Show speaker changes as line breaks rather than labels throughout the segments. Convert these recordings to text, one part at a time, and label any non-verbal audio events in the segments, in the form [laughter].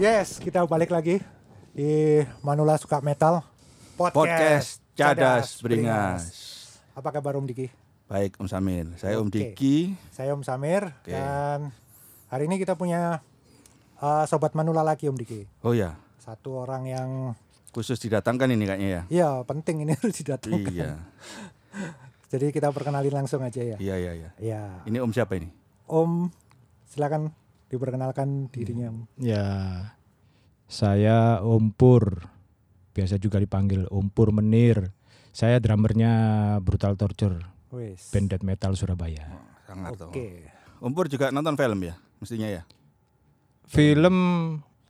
Yes, kita balik lagi di Manula Suka Metal
Podcast
Beringas.
Cadas Beringas.
Apa kabar Om Diki?
Baik Om Samir, saya Om
Oke.
Diki.
Saya Om Samir
Oke.
dan hari ini kita punya uh, sobat Manula lagi Om Diki.
Oh ya,
Satu orang yang
khusus didatangkan ini kayaknya ya.
ya penting ini [laughs] harus didatangkan.
Iya,
Jadi kita perkenalin langsung aja ya.
iya, iya, iya.
Ya,
Ini Om siapa ini?
Om silakan diperkenalkan
Iya.
dirinya. Om.
Ya, saya Ompur, biasa juga dipanggil Ompur Menir. Saya drummernya Brutal Torture,
Wes.
band death metal Surabaya.
Sangar
Oke.
toh. Om Pur juga nonton film ya, mestinya ya.
Film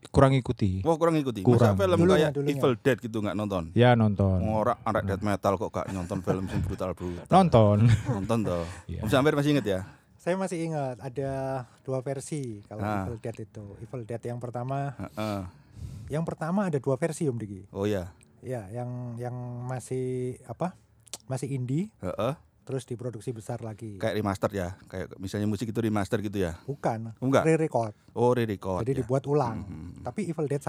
kurang ikuti.
Wah kurang ngikuti. Masa
Kurang.
film
Dulunya,
kayak
dulunya.
Evil Dead gitu nggak nonton.
Ya nonton,
Ngorak anak death metal kok gak nonton film sing brutal brutal.
nonton. [laughs]
Nonton toh.
Iya.
Om Samir masih inget ya?
Saya masih ingat ada dua versi kalau
Ah.
Evil Dead itu. Evil Dead yang pertama,
Heeh.
yang pertama ada dua versi Om Diki.
Oh ya.
Ya, yang yang masih apa? Masih indie,
Heeh.
terus diproduksi besar lagi.
Kayak remaster ya, kayak misalnya musik itu remaster gitu ya.
Bukan,
Enggak.
re-record.
Oh re-record.
Jadi
ya.
dibuat ulang.
Mhm.
Tapi Evil Dead 1.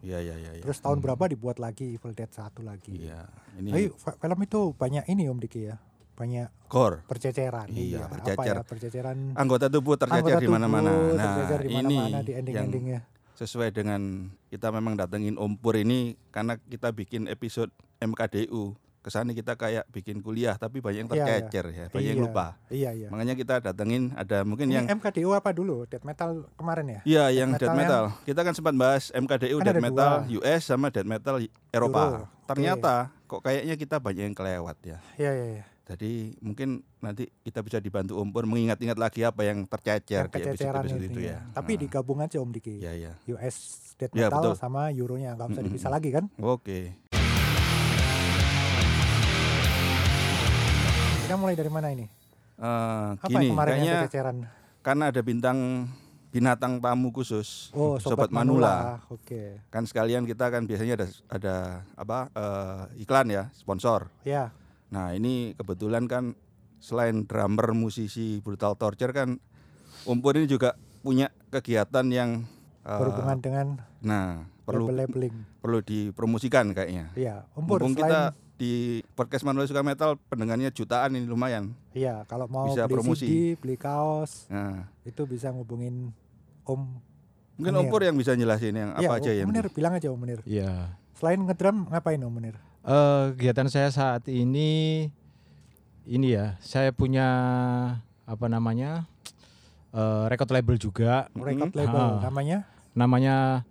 Iya iya iya. iya.
Terus tahun berapa dibuat lagi Evil Dead 1 lagi.
Iya. Ini
Tapi fa- film itu banyak ini Om Diki ya. Banyak
gore.
perceceran.
Iya,
Apa
bercecer.
ya, perceceran
anggota tubuh tercecer
anggota
di mana-mana.
tubuh,
Nah,
tercecer di
ini
mana-mana di
yang
ending-endingnya.
sesuai dengan kita memang datengin Ompur ini karena kita bikin episode MKDU. Kesannya kita kayak bikin kuliah tapi banyak yang
Iya, iya.
tercecer ya, banyak yang
Iya.
lupa.
Iya, iya.
Makanya kita datengin ada mungkin
Ini
yang
MKDU apa dulu? Death Metal kemarin ya?
Iya,
metal
yang death
yang-
metal. Kita kan sempat bahas MKDU
Kan
death
ada
metal
dua.
US sama death metal Eropa.
Euro, oke.
Ternyata kok kayaknya kita banyak yang kelewat ya.
Iya, iya, iya.
Jadi mungkin nanti kita bisa dibantu Ompur mengingat-ingat lagi apa yang
Yang
tercecer di
kececeran
Iya, episode-episode itu ya.
Tapi
Nah,
digabung aja Om Diki.
Iya, iya.
US death
Ya,
metal
betul.
sama euronya nggak bisa
Mm-mm.
dipisah lagi kan?
Oke.
Kita mulai dari mana ini?
Eh,
Apa yang
gini,
kemarin
kayaknya
yang kececeran?
karena ada bintang binatang tamu khusus
Oh, sobat, Manula. Oke.
Kan sekalian kita kan biasanya ada ada apa eh, iklan ya, sponsor.
Ya,
Nah, ini kebetulan kan selain drummer, musisi Brutal Torture kan Umpur ini juga punya kegiatan yang eh,
berhubungan dengan
Nah, perlu
label-labeling.
perlu dipromosikan kayaknya.
Iya, Om Pur,
Mumpung
selain
kita di podcast Manual Suka Metal pendengarnya jutaan ini lumayan.
iya, kalau mau
bisa
beli
promosi.
CD, beli kaos,
Nah,
itu bisa ngubungin Om.
mungkin
Menir.
Umpur yang bisa jelasin yang
Iya,
apa aja
Om
ya, yang
Munir, bilang aja Om Munir.
Ya,
Selain ngedrum ngapain Om Munir?
eh, kegiatan saya saat ini, ini ya, saya punya apa namanya eh, record label juga,
Mm-mm.
Record label
Ah.
namanya
namanya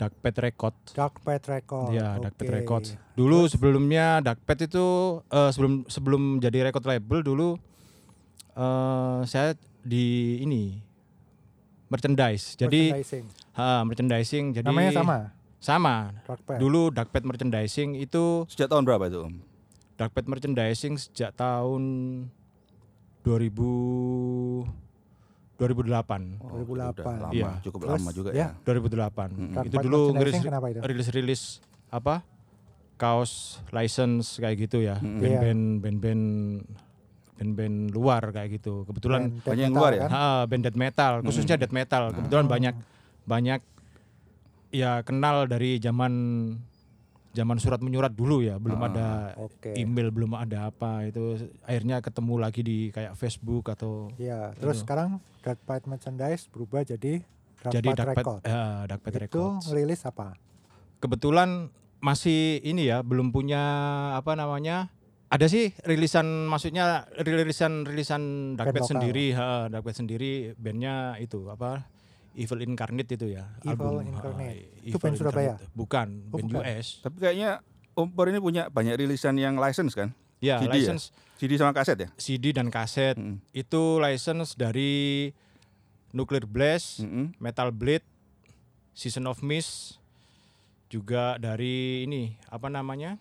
Dark Pet Record.
Dark Pet Record.
Iya, Dark Pet
Oke.
Records. Dulu sebelumnya Dark Pet itu eh, sebelum sebelum jadi record label dulu eh saya di ini merchandise. Jadi
Merchandising.
ha, merchandising jadi
namanya sama,
Sama.
Dark Pet.
Dulu Dark Pet merchandising itu
Sejak tahun berapa
Oh,
itu, Om?
Dark Pet merchandising sejak tahun 2000 2008.
Oh, itu
2008.
udah lama,
Iya.
cukup
Terus,
lama juga
ya.
ya.
2008.
Mm-mm.
Dark
Itu
Pet
dulu
merchandising
ngeris
kenapa itu?
rilis-rilis apa kaos license kayak gitu ya
Mm-mm.
band-band
Iya.
band-band band-band luar kayak gitu kebetulan
Band
banyak yang
metal Nah.
keluar ya?
kan?
ah, band death metal khususnya death metal kebetulan banyak banyak ya kenal dari zaman zaman surat menyurat dulu ya belum ada
Ah, Oke.
email belum ada apa itu akhirnya ketemu lagi di kayak Facebook atau
Ya, terus sekarang Dark Pet merchandise berubah jadi Dark
jadi
Pet
Dark Pet,
Record.
ah, Dark Pet
Itu
Records.
rilis apa?
kebetulan masih ini ya belum punya apa namanya ada sih rilisan maksudnya rilisan rilisan
Band
Dark Pet
lokal.
sendiri ha, Dark Pet sendiri bandnya itu apa Evil Incarnate itu ya
Evil
album ha,
Incarnate.
Evil
Itu band Surabaya?
Incarnate. bukan
Oh,
band
bukan.
US
Tapi kayaknya Umpur ini punya banyak rilisan yang license kan?
ya
CD ya?
license
CD sama kaset ya?
CD dan kaset
Mm-mm.
itu license dari Nuclear Blast
Mm-mm.
Metal Blade, Season of Mist, juga dari ini apa namanya?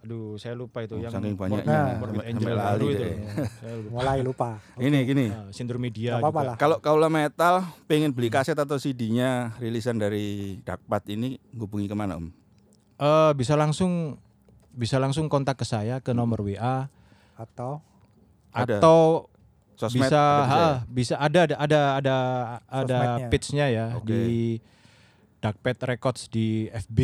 Aduh, saya lupa
Oh,
itu yang
saking
Morbid-
banyaknya.
Morbid
Sampai-
Angel
sampai
baru
lali
itu.
deh.
saya lupa.
Mulai
[laughs]
lupa.
Ini gini.
Ah.
Nah, Syndrome Media.
Nggak apa-apa
juga.
lah.
Kalau kaula metal pengen beli kaset atau CD-nya rilisan dari Darkpat ini hubungi kemana Om?
Eh, bisa langsung bisa langsung kontak ke saya ke nomor WA
Atau
Ada.
atau
Sosmed
bisa
ada ya?
ha, bisa ada ada ada ada, ada
Sosmednya.
page-nya ya
Oke.
di Darkpad Records di FB,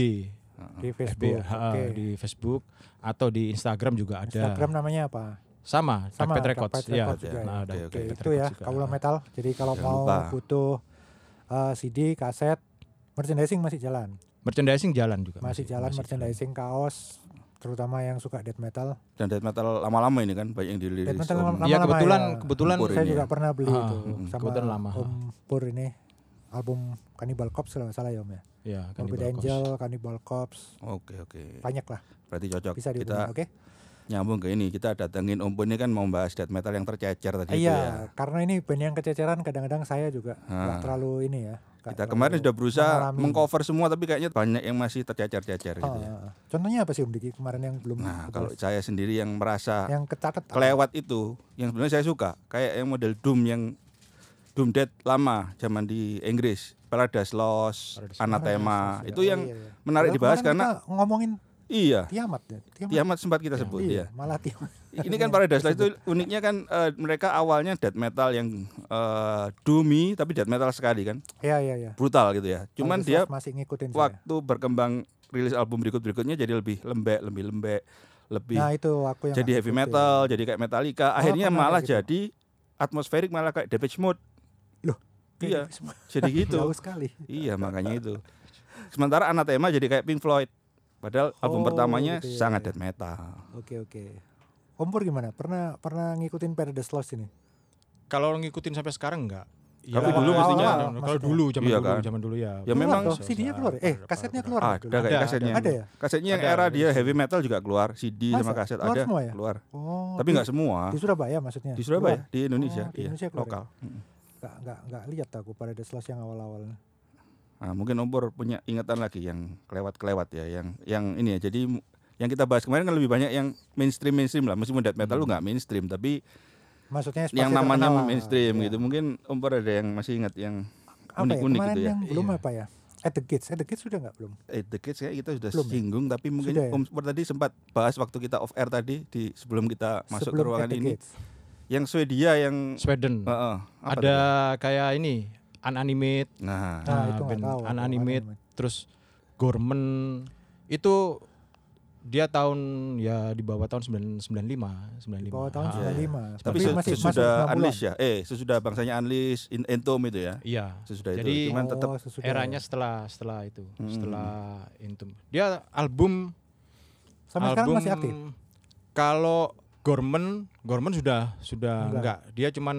di
FB
Facebook.
ha,
Oke.
eh, di Facebook atau di Instagram juga ada.
Instagram namanya apa?
sama,
Sama,
Darkpad Records,
Darkpad
ya.
Records juga ya.
Oke,
Nah,
Oke,
Darkpad Records
itu ya
juga.
kaula metal. Jadi kalau
Jangan
mau
lupa.
butuh eh, CD, kaset, merchandising masih jalan.
Merchandising jalan juga. Iya,
Masih, jalan merchandising kaos terutama yang suka death metal.
Dan death metal lama-lama ini kan banyak yang dirilis.
Death metal
Om-
lama-lama.
Iya kebetulan
ya.
kebetulan
Campur Pur
Saya
ini
juga
ya?
pernah beli
Ah,
itu
mm,
sama
kebetulan lama.
Om Pur ini album Cannibal Corpse kalau nggak salah ya Om ya.
ya
Morbid
Cannibal
Angel,
Corpse.
Cannibal Corpse,
Oke oke.
banyak lah
Berarti cocok.
bisa
kita gitu
dihubungi. Oke.
nyambung ke ini. Kita datengin Om Pun ini kan mau bahas death metal yang tercecer tadi itu ya.
Iya, karena ini band yang kececeran kadang-kadang saya juga nggak
Ah.
terlalu ini ya. nggak
Kita
terlalu
kemarin sudah berusaha
mengalami.
mengcover semua tapi kayaknya banyak yang masih
Ah,
tercecer-cecer gitu ya.
ah, ah. Contohnya apa sih Om Diki kemarin yang belum kebales?
Nah, kalau saya sendiri yang merasa
yang kecatet apa?
kelewat itu yang sebenarnya saya suka kayak yang model doom yang doom dead lama zaman di Inggris Paradise Lost
Paradise
Anathema
Lost, ya.
itu
Oh,
yang
iya, iya.
menarik
Padahal
dibahas
kemarin
karena
kita ngomongin
iya
tiamat ya. Tiamat.
tiamat sempat kita sebut
iya,
ya
malah tiamat. [laughs]
ini kan Paradise Lost itu uniknya kan eh, mereka awalnya death metal yang eh, doomy tapi death metal sekali kan
Iya, iya, iya.
brutal gitu ya cuman
Paradise
dia
Lost masih ngikutin saya.
waktu berkembang rilis album berikut-berikutnya jadi lebih lembek lebih lembek lebih
Nah, itu aku yang
jadi
nggak
heavy
ngikutin.
metal, jadi kayak Metallica. Akhirnya
pernah
malah
kayak gitu.
jadi atmosferik malah kayak Depeche Mode.
Loh, kayak
Iya,
Depeche Mode. [laughs]
jadi
Jauh
gitu.
sekali.
iya, makanya itu. Sementara Anathema jadi kayak Pink Floyd. Padahal album
Oh,
pertamanya
gitu ya,
sangat
ya.
death metal.
Oke, oke. Om Pur gimana? Pernah pernah ngikutin Paradise Lost ini?
Kalau ngikutin sampai sekarang enggak? Iya.
Tapi dulu mestinya.
Kalau dulu zaman
Iya
dulu,
kan?
zaman dulu ya.
Keluar
Ya memang-
toh, CD-nya
Iya.
keluar. ya? Eh, kasetnya keluar. ya
Ada
dulu?
kayak
Ada,
kasetnya.
ada ya?
Kasetnya yang
Ada,
era
ada.
dia heavy metal juga keluar, CD sama
Masa?
kaset
Keluar
ada
semua ya?
keluar.
Oh,
Tapi
di-
nggak semua.
di Surabaya maksudnya?
Di Surabaya,
Keluar?
di Indonesia,
Oh, di
iya,
Indonesia keluar ya?
lokal. Mm.
Nggak nggak nggak lihat aku Paradise Lost yang awal-awal.
Nah, mungkin Ombor punya ingatan lagi yang kelewat-kelewat ya, yang yang ini ya. Jadi m- yang kita bahas kemarin kan lebih banyak yang mainstream mainstream lah. Meskipun death metal lu nggak mainstream, tapi
Maksudnya
yang
spasi
namanya
terkenal lah.
mainstream
Iya.
gitu. Mungkin Ombor ada yang masih ingat yang
Apa ya,
unik-unik
kemarin
gitu ya.
yang belum
Iya.
apa ya? At the Gates, At the Gates sudah nggak belum?
Eh, The Kids kayak kita sudah
Belum ya?
singgung, tapi mungkin
Sudah ya?
Ombor tadi sempat bahas waktu kita off air tadi di sebelum kita masuk
Sebelum
ke ruangan
At the Hmm.
ini.
Gates.
Yang Swedia yang
Sweden.
Heeh, Ah, apa
ada
tuh?
kayak ini unanimate
Nah,
Nah, itu nggak
band
tahu aku,
unanimate,
Unanimate.
terus Gorman itu dia tahun ya di bawah tahun 995 95
Di bawah tahun
Ah,
95.
iya, tapi
Tapi
se-
masih-
sesudah
masih 90-an.
Unleash ya. Eh, sesudah bangsanya Unleash in Entom itu ya.
iya
Sesudah
Jadi,
itu. Cuman
Oh,
tetap
sesudah ya.
eranya setelah setelah itu
Hmm.
setelah Intum dia album
sampai sekarang
album
masih aktif.
kalau Gorman Gorman sudah sudah
Enggak.
enggak. dia cuman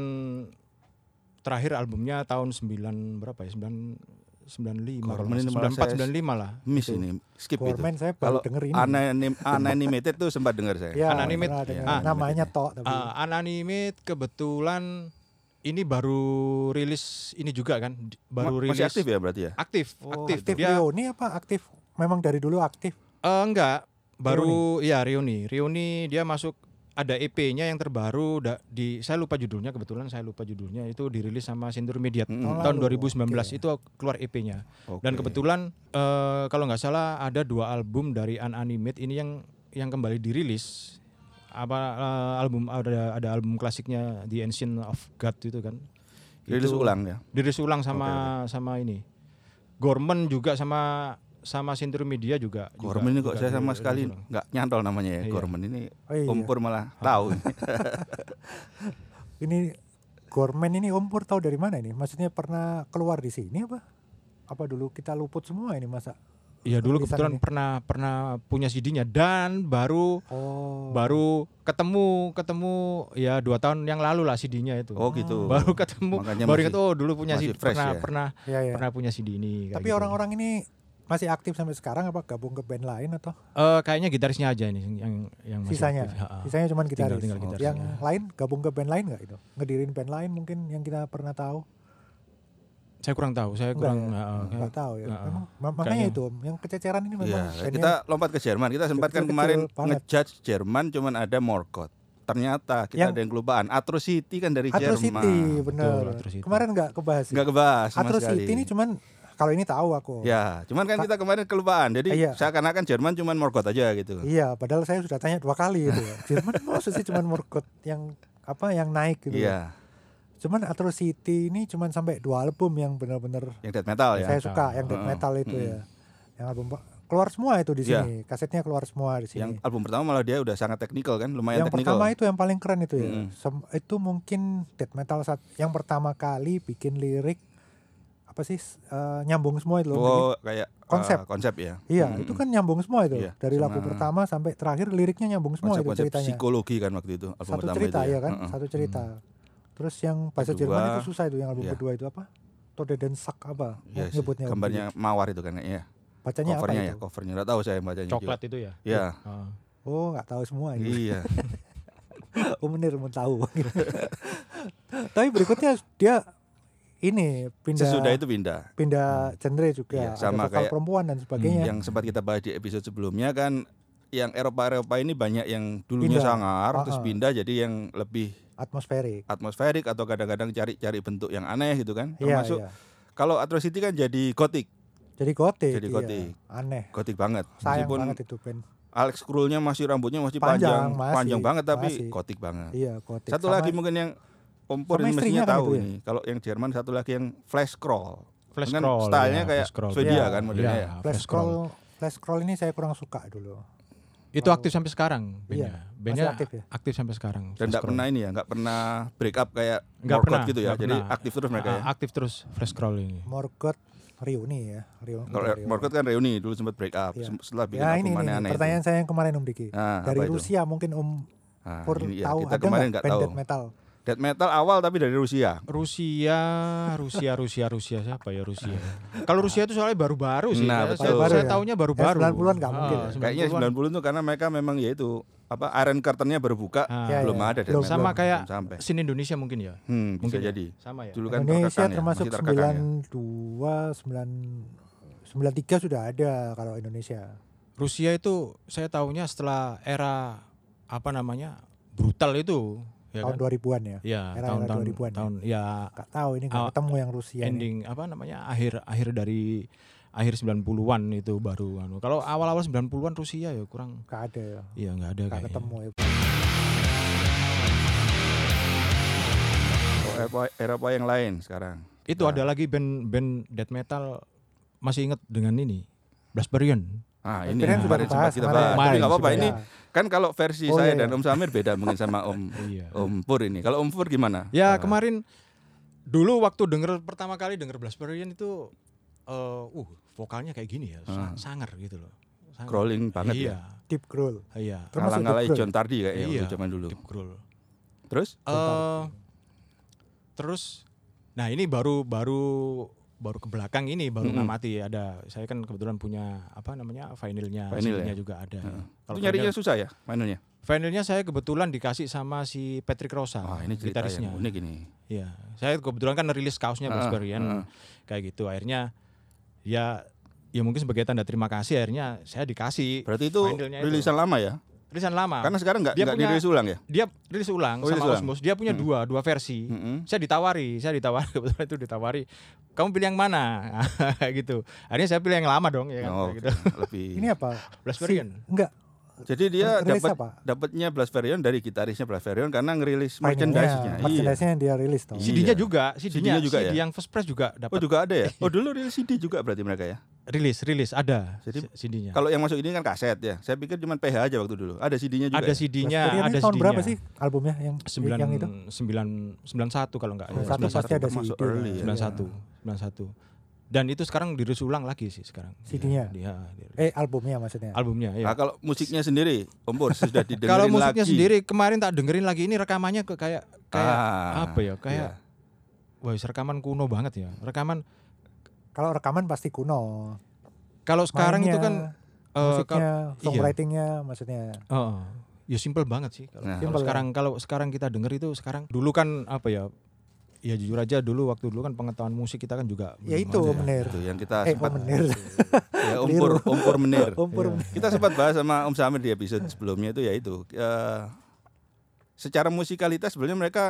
terakhir albumnya tahun 9 berapa ya 9 95 kalau
Gorman ini
nggak salah.
malah
94
saya-
95 lah
miss ini, skip itu.
Gorman saya baru
Kalau
denger ini.
anonim, anonymity itu sempat dengar saya.
Ya,
Unanimate.
pernah dengar.
Ya, Unanimate
namanya
ya.
tok tapi
Ah, Unanimate kebetulan ini baru rilis ini juga kan di- baru
Ma-
rilis
masih aktif ya berarti ya?
aktif
Oh,
aktif.
aktif
dia
Leo ini apa aktif? Memang dari dulu aktif.
eh, enggak baru iya Rioni Rioni dia masuk ada EP-nya yang terbaru da- di saya lupa judulnya kebetulan saya lupa judulnya itu dirilis sama Sindur Media
Mm-mm.
tahun
Lalu,
2019
oke.
itu keluar EP-nya
Hmm. Oh, Oke.
dan kebetulan eh, kalau nggak salah ada dua album dari Unanimate ini yang yang kembali dirilis apa eh, album ada ada album klasiknya The Ancient of God itu kan
rilis
Itu-
ulang ya.
dirilis ulang sama sama ini Gorman juga sama sama Sintur Media juga juga-
Gorman ini kok
juga
saya sama
dirilis
sekali
ulang.
nggak nyantol namanya ya.
Iya. Ah,
Gorman ini
Oh, iya.
umpur malah tahu.
Ini Gorman ini Om Pur tahu dari mana ini? Maksudnya pernah keluar di sini apa? Apa dulu kita luput semua ini masa?
Iya dulu
Tulisan
kebetulan
ini.
pernah pernah punya CD-nya dan baru
Oh.
baru ketemu ketemu ya dua tahun yang lalu lah CD-nya itu
oh gitu.
[laughs] baru ketemu
Makanya
baru
masih-
ingat oh dulu punya
masih
CD
fresh
pernah
ya.
pernah
Ya, ya.
pernah punya CD ini kayak
Tapi
gitu.
orang-orang ini masih aktif sampai sekarang apa gabung ke band lain atau
Eh, kayaknya gitarisnya aja ini yang yang masih
sisanya?
aktif. Ha, ha.
Sisanya cuman gitaris.
Tinggal- tinggal gitaris
yang
aja.
lain gabung ke band lain nggak itu? Ngedirin band lain mungkin yang kita pernah tahu?
Saya kurang tahu, saya
Enggak
kurang
ya?
ha, ha.
Nggak tahu ya.
Nggak,
Memang- ma- makanya
Kayaknya.
itu Om, yang kececeran ini memang
Iya,
bandnya-
kita lompat ke Jerman. Kita sempat kan
kecil-kecil
kemarin
banget.
ngejudge Jerman cuman ada Morgoth. Ternyata kita
Yang-
ada yang kelupaan. Atrocity kan dari
Atrocity,
Jerman.
bener.
Betul, Atrocity.
Kemarin nggak kebahas.
Nggak kebahas sama sekali.
Atrocity ini cuman kalau ini tahu aku.
Ya, cuman kan kita kemarin kelupaan. Jadi
Iya.
seakan-akan Jerman cuman Morgoth aja gitu.
Iya, padahal saya sudah
[laughs]
"Oh, tanya dua kali itu. ya. Jerman masa sih cuman Murkut yang apa yang naik gitu. ya.
Iya.
Cuman Atrocity ini cuman sampai dua album yang benar-benar
yang death metal ya.
saya suka yang death
Heeh.
metal itu
Mm-mm.
ya. Yang album keluar semua itu di
Iya.
sini, kasetnya keluar semua di sini.
Yang album pertama malah dia udah sangat teknikal kan, lumayan
yang
teknikal.
pertama itu yang paling keren itu ya.
Mm-mm.
Sem- itu mungkin death metal saat yang pertama kali bikin lirik apa sih s- eh, nyambung semua itu loh.
Oh, kayak eh,
Konsep.
konsep ya.
Iya,
Mm-mm.
itu kan nyambung semua itu.
Iya,
Dari lagu
sama-
pertama sampai terakhir liriknya nyambung semua itu
konsep-konsep
ceritanya.
psikologi kan waktu itu album
Satu
pertama
cerita
itu
ya kan,
Heeh. Hmm.
satu cerita. Terus yang bahasa
Kedua,
Jerman itu susah itu yang album
iya.
kedua itu apa? Tode dan Sak apa?
Iya sih,
nyebutnya. waktu
gambarnya
itu.
mawar itu kan ya.
Bacanya apa
Covernya ya,
itu?
covernya enggak tahu saya bacanya. juga.
Coklat itu ya.
Iya.
Ah.
Oh, nggak tahu semua ini. [laughs]
Iya.
Umenir mau tahu. [laughs] Tapi berikutnya dia ini pindah
Sesudah itu pindah.
pindah genre juga
Iya,
Ada vokal
sama kayak- Hmm,
perempuan dan sebagainya.
Yang sempat kita bahas di episode sebelumnya kan yang Eropa-Eropa ini banyak yang dulunya
Pindah.
sangar terus
Ah-ah.
pindah jadi yang lebih
Atmosferik.
atmosferik atau kadang-kadang cari-cari bentuk yang aneh gitu kan.
Iya,
Termasuk
iya.
kalau Atrocity kan jadi gotik,
Jadi gotik.
Jadi
iya.
gotik.
Aneh.
gotik banget.
Sayang
Meskipun
banget itu band.
Alex Krulnya masih rambutnya masih
Panjang,
panjang, panjang,
masih,
banget tapi
masih.
gotik banget.
Iya, gotik.
Satu
Sama-
lagi mungkin yang kompor
sama
ini mestinya
istrinya kan
tahu
itu ya?
ini. Kalau yang Jerman satu lagi yang flash crawl.
Flash
Kan
scroll.
stylenya
ya,
kayak
flash scroll.
Swedia
Iya,
kan modelnya
iya,
ya.
Flash scroll, flash scroll ini saya kurang suka dulu.
Itu aktif sampai sekarang bandnya.
Iya,
Bandnya
masih aktif
aktif,
ya?
sampai sekarang.
Dan
Flash
nggak pernah ini ya, nggak pernah break up kayak
scroll. Nggak
Morgoth
pernah
gitu ya.
nggak
Jadi
pernah.
aktif terus mereka
Ah,
ya.
Aktif terus flash scroll ini.
Morgoth Riuni ya, Riuni.
Kalau
Riuni.
Morgoth kan reuni dulu sempat break up
Iya.
sem- setelah bikin
Ya ini, ini,
album
ini.
aneh-aneh. itu.
pertanyaan saya yang kemarin Om Diki.
Ah,
dari
apa itu?
Rusia mungkin Om
Ah,
Pur
ini ya,
tahu
kita
ada
kemarin
nggak
nggak
band
tahu.
death metal?
Death metal awal tapi dari Rusia.
Rusia, Rusia, Rusia, Rusia siapa ya Rusia? Kalau Rusia itu soalnya baru-baru sih.
Nah,
ya.
betul.
Saya,
Baru
saya
ya?
tahunya
Ya,
baru-baru. Ah,
90-an nggak mungkin ya?
Kayaknya 90 tuh karena mereka memang ya itu apa Iron Curtainnya baru buka,
Ah.
Ya,
belum
ya.
ada Death
Belum.
metal.
Sama
Belum
kayak
sampai.
sin Indonesia mungkin ya.
Hmm,
Mungkin
bisa
ya.
jadi.
Sama ya.
Dulu kan
Iya. Indonesia
terkekang ya,
termasuk
masih terkekang ya.
92, 9 93 sudah ada kalau Indonesia.
Iya Rusia itu saya tahunya setelah era apa namanya? brutal itu, ya
tahun
kan?
2000-an ya.
Ya,
era-era
tahun-tahun
2000-an ya?
tahun ya
Gak tahu ini nggak
Ah,
ketemu yang Rusia ini.
ending apa namanya akhir akhir dari akhir 90-an itu baru anu. Kalau awal-awal 90-an Rusia ya kurang
Gak ada ya.
iya nggak ada
Gak
kayaknya.
ketemu
Nah,
ya.
Oh, Eropa, Eropa yang lain sekarang.
Itu
Nah.
ada lagi band-band death metal masih inget dengan ini. Blasperion.
Ah,
Kalian kan
ini yang
sudah
kemarin
bahas
sempat kita
kemarin.
bahas. Tapi
Kemarin
nggak apa-apa
sudah.
ini kan kalau versi
Oh,
saya
iya,
dan Om Samir beda mungkin
[laughs]
sama Om
Iya.
Om Pur ini. Kalau Om Pur gimana?
Ya
Ah,
kemarin dulu waktu denger pertama kali denger Blasperion itu eh uh vokalnya kayak gini ya, sa- sangar gitu loh. Sangar.
crawling banget
iya,
ya.
Deep Growl.
Iya.
Termasuk
Ngalah-ngalah
Deep Growl.
John Tardi kayak
Iya.
waktu zaman dulu.
Deep growl.
Terus
eh terus nah ini baru baru baru ke belakang ini baru
Mm-mm.
ngamati ada saya kan kebetulan punya apa namanya vinilnya
Vinyl
CD-nya
ya?
juga ada. Kalau
itu nyarinya
vinyl-
susah ya mainannya.
vinylnya saya kebetulan dikasih sama si Patrick Rosa
Wah, ini cerita
gitarisnya.
yang unik ini.
Iya, saya kebetulan kan rilis kaosnya
Ah,
Blackberry
ah.
kayak gitu akhirnya ya ya mungkin sebagai tanda terima kasih akhirnya saya dikasih
Berarti itu
vinylnya
rilisan lama ya?
rilisan lama.
Karena sekarang nggak
Ah. Dia
nggak
punya-
dirilis ulang ya?
dia rilis ulang
Oh, rilis
sama
ulang. Hmm.
Osmos. Dia punya dua dua versi.
Mm-mm.
Saya ditawari, saya ditawari [laughs] kebetulan itu ditawari. Kamu pilih yang mana? [laughs] Kayak gitu. Akhirnya saya pilih yang lama dong ya kan.
Oh,
kayak gitu.
oke. [laughs] lebih.
Ini apa?
Blasperion.
Si- Enggak.
Jadi dia
Rilis
dapat
apa?
dapatnya Blaspherion dari gitarisnya Blaspherion karena ngerilis
Vinylnya,
merchandise-nya. Iya.
merchandise-nya yang dia rilis tau.
Iya.
CD-nya juga,
CD-nya
CD-nya
juga
juga
ya?
yang first press juga
Oh
dapat
juga ada ya? Oh dulu rilis CD juga berarti mereka ya?
Iya. rilis, rilis ada
Jadi
CD-nya.
Kalau yang masuk ini kan kaset ya. Saya pikir cuma PH aja waktu dulu. Ada CD-nya juga.
Ada
ya?
CD-nya,
Blasperion ini
ada
tahun
CD-nya.
berapa sih albumnya yang
Sembilan
yang itu?
sembilan sembilan satu kalau enggak.
Oh, satu
Sembilan
pasti ada
termasuk
CD.
early ya.
Iya.
sembilan satu, sembilan satu. Dan itu sekarang dirilis ulang lagi sih sekarang.
CD-nya?
Iya, dirilis.
Eh albumnya maksudnya.
albumnya. Iya.
Nah, kalau musiknya sendiri, Om Pur sudah didengerin
Kalau musiknya
lagi.
sendiri kemarin tak dengerin lagi ini rekamannya ke kayak kayak
Ah,
apa ya? Kayak wah rekaman kuno banget ya. Rekaman
Kalau rekaman pasti kuno.
kalau sekarang itu kan
Mainnya,
eh,
musiknya,
kal- iya.
songwritingnya maksudnya.
Heeh. ya simple banget sih kalau
Nah.
kalau
Simple ya.
sekarang kalau sekarang kita denger itu sekarang dulu kan apa ya? Ya jujur aja dulu waktu dulu kan pengetahuan musik kita kan juga
Ya
belum
itu
ada.
Menir.
Itu yang kita
Eh Oh,
sempat
Om Menir.
Iya.
ya, Om Pur, Om Pur Menir.
Om Pur Menir.
Kita sempat bahas sama Om Samir di episode sebelumnya itu yaitu eh secara musikalitas sebenarnya mereka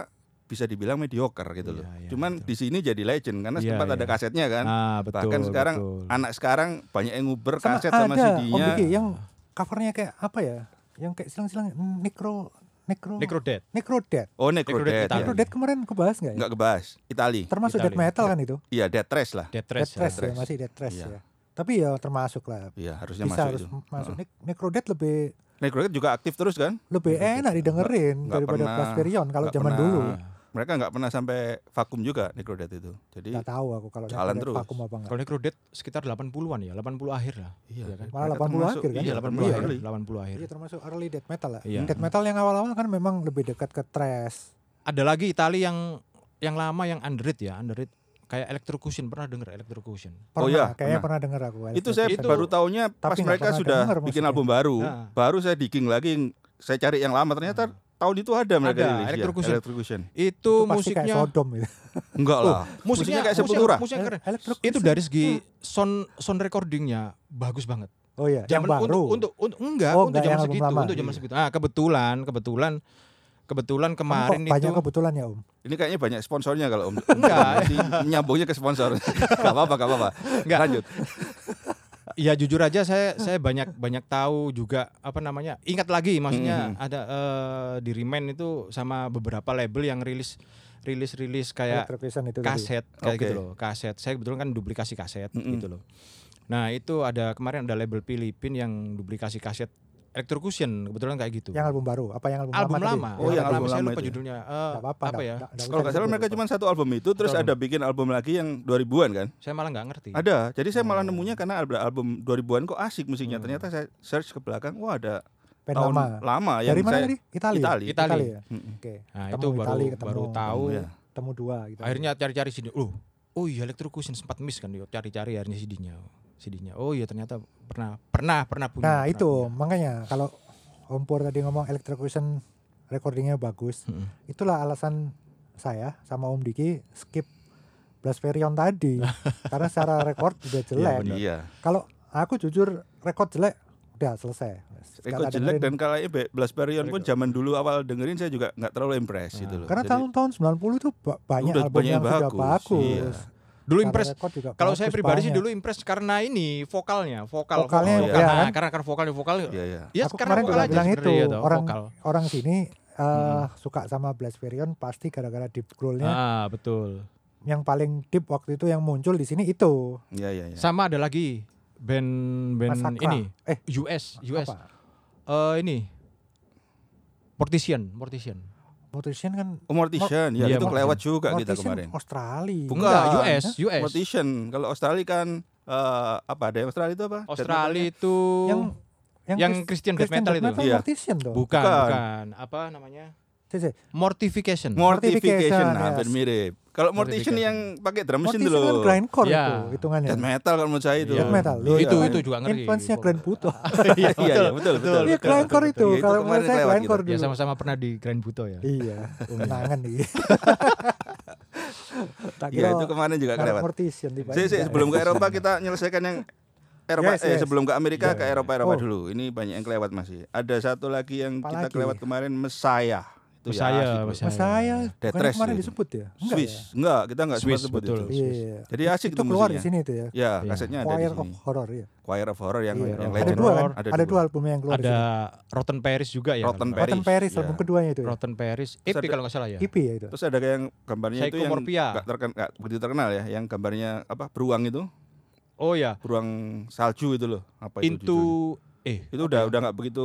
bisa dibilang mediocre gitu loh.
Iya, iya,
Cuman
betul.
di sini jadi legend karena
Iya,
sempat ada
iya.
kasetnya kan.
Ah, betul.
Bahkan sekarang
betul.
anak sekarang banyak yang nguber
Sama
kaset
ada oh,
sama
Om
CD-nya.
Diki yang covernya kayak apa ya? Yang kayak silang-silang mikro Necro
Necro Iya. Death.
Necro Death.
Oh, Necro
Necro Death
Death.
Itali.
Necro
Ya.
Death kemarin kebahas nggak ya?
Enggak kebahas. Itali.
Termasuk
Itali.
death metal kan itu?
Iya, Death Trash lah.
Death
Death Trash. ya.
Thresh ya,
Thresh.
masih Death Thresh
Iya.
ya. Tapi ya termasuk lah.
Iya, harusnya
Bisa
masuk
harus
itu.
masuk.
Heeh.
Nec- Necro Death lebih
Necro Death juga aktif terus kan?
lebih enak ah didengerin
nggak
daripada
pernah-
Blaspherion kalau
nggak
zaman
pernah- Iya.
dulu.
Mereka nggak pernah sampai vakum juga Necro Death itu. Jadi
Nggak tahu aku kalau Necro
jalan
Death
terus.
vakum apa enggak.
Kalau Necro Death sekitar 80-an ya, 80 akhir lah. Iya kan?
Malah
mereka
80
termasuk-
akhir kan?
Iya,
Iya,
80
Iya,
akhir.
akhir, 80 akhir.
Iya termasuk early death metal lah.
Iya.
Death metal yang awal-awal kan memang lebih dekat ke thrash.
Ada lagi Itali yang yang lama yang underrated ya, underrated kayak Electrocution pernah denger Electrocution.
Pernah,
Oh iya,
kayaknya
pernah.
pernah denger aku.
Itu saya
Itu-
baru taunya pas
Tapi nggak
mereka
pernah
sudah
denger maksudnya.
bikin album baru.
Nah.
Baru saya digging lagi, yang- saya cari yang lama. Ternyata tahun itu ada mereka
Ah. Ada,
rilis. ya,
Electrocution.
Electrocution.
Itu,
Itu pasti kayak
musiknya
Sodom ya. Eh, itu.
Enggak lah.
Oh,
musiknya
kayak
musiknya-
Sepultura.
musiknya keren.
Electro-
Itu dari segi
eh.
sound sound recordingnya bagus banget.
Oh iya, yang
Zaman
baru.
untuk, untuk untuk enggak
Oh,
untuk
enggak,
zaman
yang album
segitu,
lama.
untuk zaman
Iya.
segitu. Ah, kebetulan, kebetulan
Kamu
kebetulan
kok
kemarin
banyak
itu
kebetulan ya Om.
Ini kayaknya banyak sponsornya kalau Om.
[laughs]
Enggak.
Nanti nyambungnya ke sponsor. gak apa-apa, gak apa-apa.
Enggak.
Lanjut.
ya jujur aja
Eh.
saya saya banyak banyak tahu juga apa namanya ingat lagi
Hmm,
maksudnya ada eh, di Remain itu sama beberapa label yang rilis rilis rilis kayak
Electrocution itu tadi.
kaset kayak
Oke.
gitu loh kaset saya kebetulan kan duplikasi kaset
Mm-mm.
gitu loh nah itu ada kemarin ada label Filipin yang duplikasi kaset Electrocution kebetulan kayak gitu
Yang album baru, apa yang album,
album
lama?
lama
tadi?
Oh, yang
yang album
album
lama saya
lama
lupa
itu ya?
judulnya Eh,
Nggak apa-apa.
apa ya
Kalau nggak salah mereka cuma satu album itu, terus
Satu
ada bikin album lagi yang 2000-an kan?
saya malah nggak
Iya.
ngerti
Ada. Jadi saya
Oh.
malah nemunya karena ada album 2000-an kok asik musiknya. Ternyata saya search ke belakang, wah ada
Hmm. Band
tahun
lama.
lama yang
Dari mana
saya-
tadi? Itali.
Itali.
Itali.
ya?
Mm-mm.
Oke.
nah
Ketemu
itu baru
Itali, ketemu-
baru tahu
Ketemu ya.
Ketemu dua gitu.
akhirnya cari-cari CD loh oh iya Electrocution sempat miss kan yuk cari-cari akhirnya CD-nya CD-nya oh iya ternyata pernah pernah pernah punya
Nah
pernah
itu
punya.
makanya kalau Om Pur tadi ngomong electrocution recordingnya bagus,
Mm-mm.
itulah alasan saya sama Om Diki skip Blaspherion tadi karena secara record udah jelek.
Iya.
kalau aku jujur record jelek udah selesai.
Eko
Setelah
jelek
dengerin. Iya.
dan kalanya Be- Blasperion pun zaman dulu awal dengerin saya juga nggak terlalu impress gitu loh.
Nah. karena
Jadi-
tahun-tahun 90 itu ba- banyak
Udah
album
banyak
yang
yang
sudah
bagus, iya.
bagus.
dulu
Secara
impress
record juga
kalau saya
bagus
pribadi sih
banyak.
dulu impress karena ini vokalnya vokal
Vokalnya,
vokal.
iya
karena,
kan?
karena karena vokalnya vokal
Iya, iya.
ya
aku
karena
kemarin
vokal
juga
aja
bilang itu
sebenarnya ya, toh,
orang
vokal
orang sini eh, suka sama Blaspherion pasti gara-gara deep growl-nya
ah betul
yang paling deep waktu itu yang muncul di sini itu
Iya, iya, iya.
sama ada lagi band band
Masakra.
ini
Eh,
US US
apa?
Eh, ini Mortician Mortician
Mortician kan
Oh, Mortician, ya
Iya,
itu
Mortician.
kelewat juga kita
Mortician
kemarin.
Australia.
Bukan.
enggak US US
Mortician. Kalau Australia kan eh, apa ada yang Australia itu apa?
Australia itu
Yang
Yang
Chris-
Christian death metal itu.
Iya.
Mortician tuh.
bukan
Bukan.
bukan apa namanya
Cek, cek.
mortification
Mortification,
Mortification,
nah, hampir
yes.
mirip. Kalau Mortician yang
Mortification.
pakai drum machine
Mortician kan
dulu.
grindcore
Iya.
itu hitungannya.
Death metal kalau menurut saya itu.
Death metal,
Iya,
loh.
itu
kan?
itu juga ngerti
Influence-nya Grand
[laughs]
Puto.
[laughs] Iya, iya, iya, betul, betul.
Iya, grindcore itu.
betul.
betul,
Iya, itu
Kalau menurut
kemarin gitu.
saya
kelewat
grindcore
ya
dulu.
sama-sama pernah di Grand Buto ya
Iya, kenangan nih.
Iya.
[laughs] Tak
Iya,
kira
itu kemarin juga
karena
kelewat.
Mortician tiba-tiba.
Sih, sih, sebelum ke Eropa kita menyelesaikan yang Eropa
Yes,
eh
yes.
sebelum ke Amerika
Iya,
ke
iya.
Eropa Eropa
Oh.
dulu. Ini banyak yang kelewat masih. Ada satu lagi yang
Apalagi?
kita kelewat kemarin Mesaya. Itu
Messiah,
ya, asik, bro.
Messiah.
Mas saya
Death
bukannya
Race
kemarin
itu.
disebut ya? Enggak
Swiss.
ya?
Enggak, kita enggak sempat
Swiss,
sebut
betul.
itu.
Iya.
Jadi asik
itu
tuh
keluar di
musiknya.
sini itu ya.
Ya,
Iya.
kasetnya ada di
Choir of
sini.
Horror ya.
Choir of Horror yang
Iya.
yang
Ada
legend.
dua kan?
Horror,
ada
Ada
dua.
dua albumnya yang keluar. di
ada
sini.
Rotten Paris juga ya
Rotten
kalau nggak
Rotten
Paris,
Paris
iya.
album keduanya itu.
salah.
ya.
Rotten Paris EP
Terus ada-
kalau nggak salah ya
EP ya itu.
Terus ada yang gambarnya itu yang
Psychomorphia.
nggak terken, nggak begitu terkenal ya, yang gambarnya apa? Beruang itu,
oh ya
beruang salju itu loh. Apa itu? judulnya?
Into eh
itu udah udah nggak begitu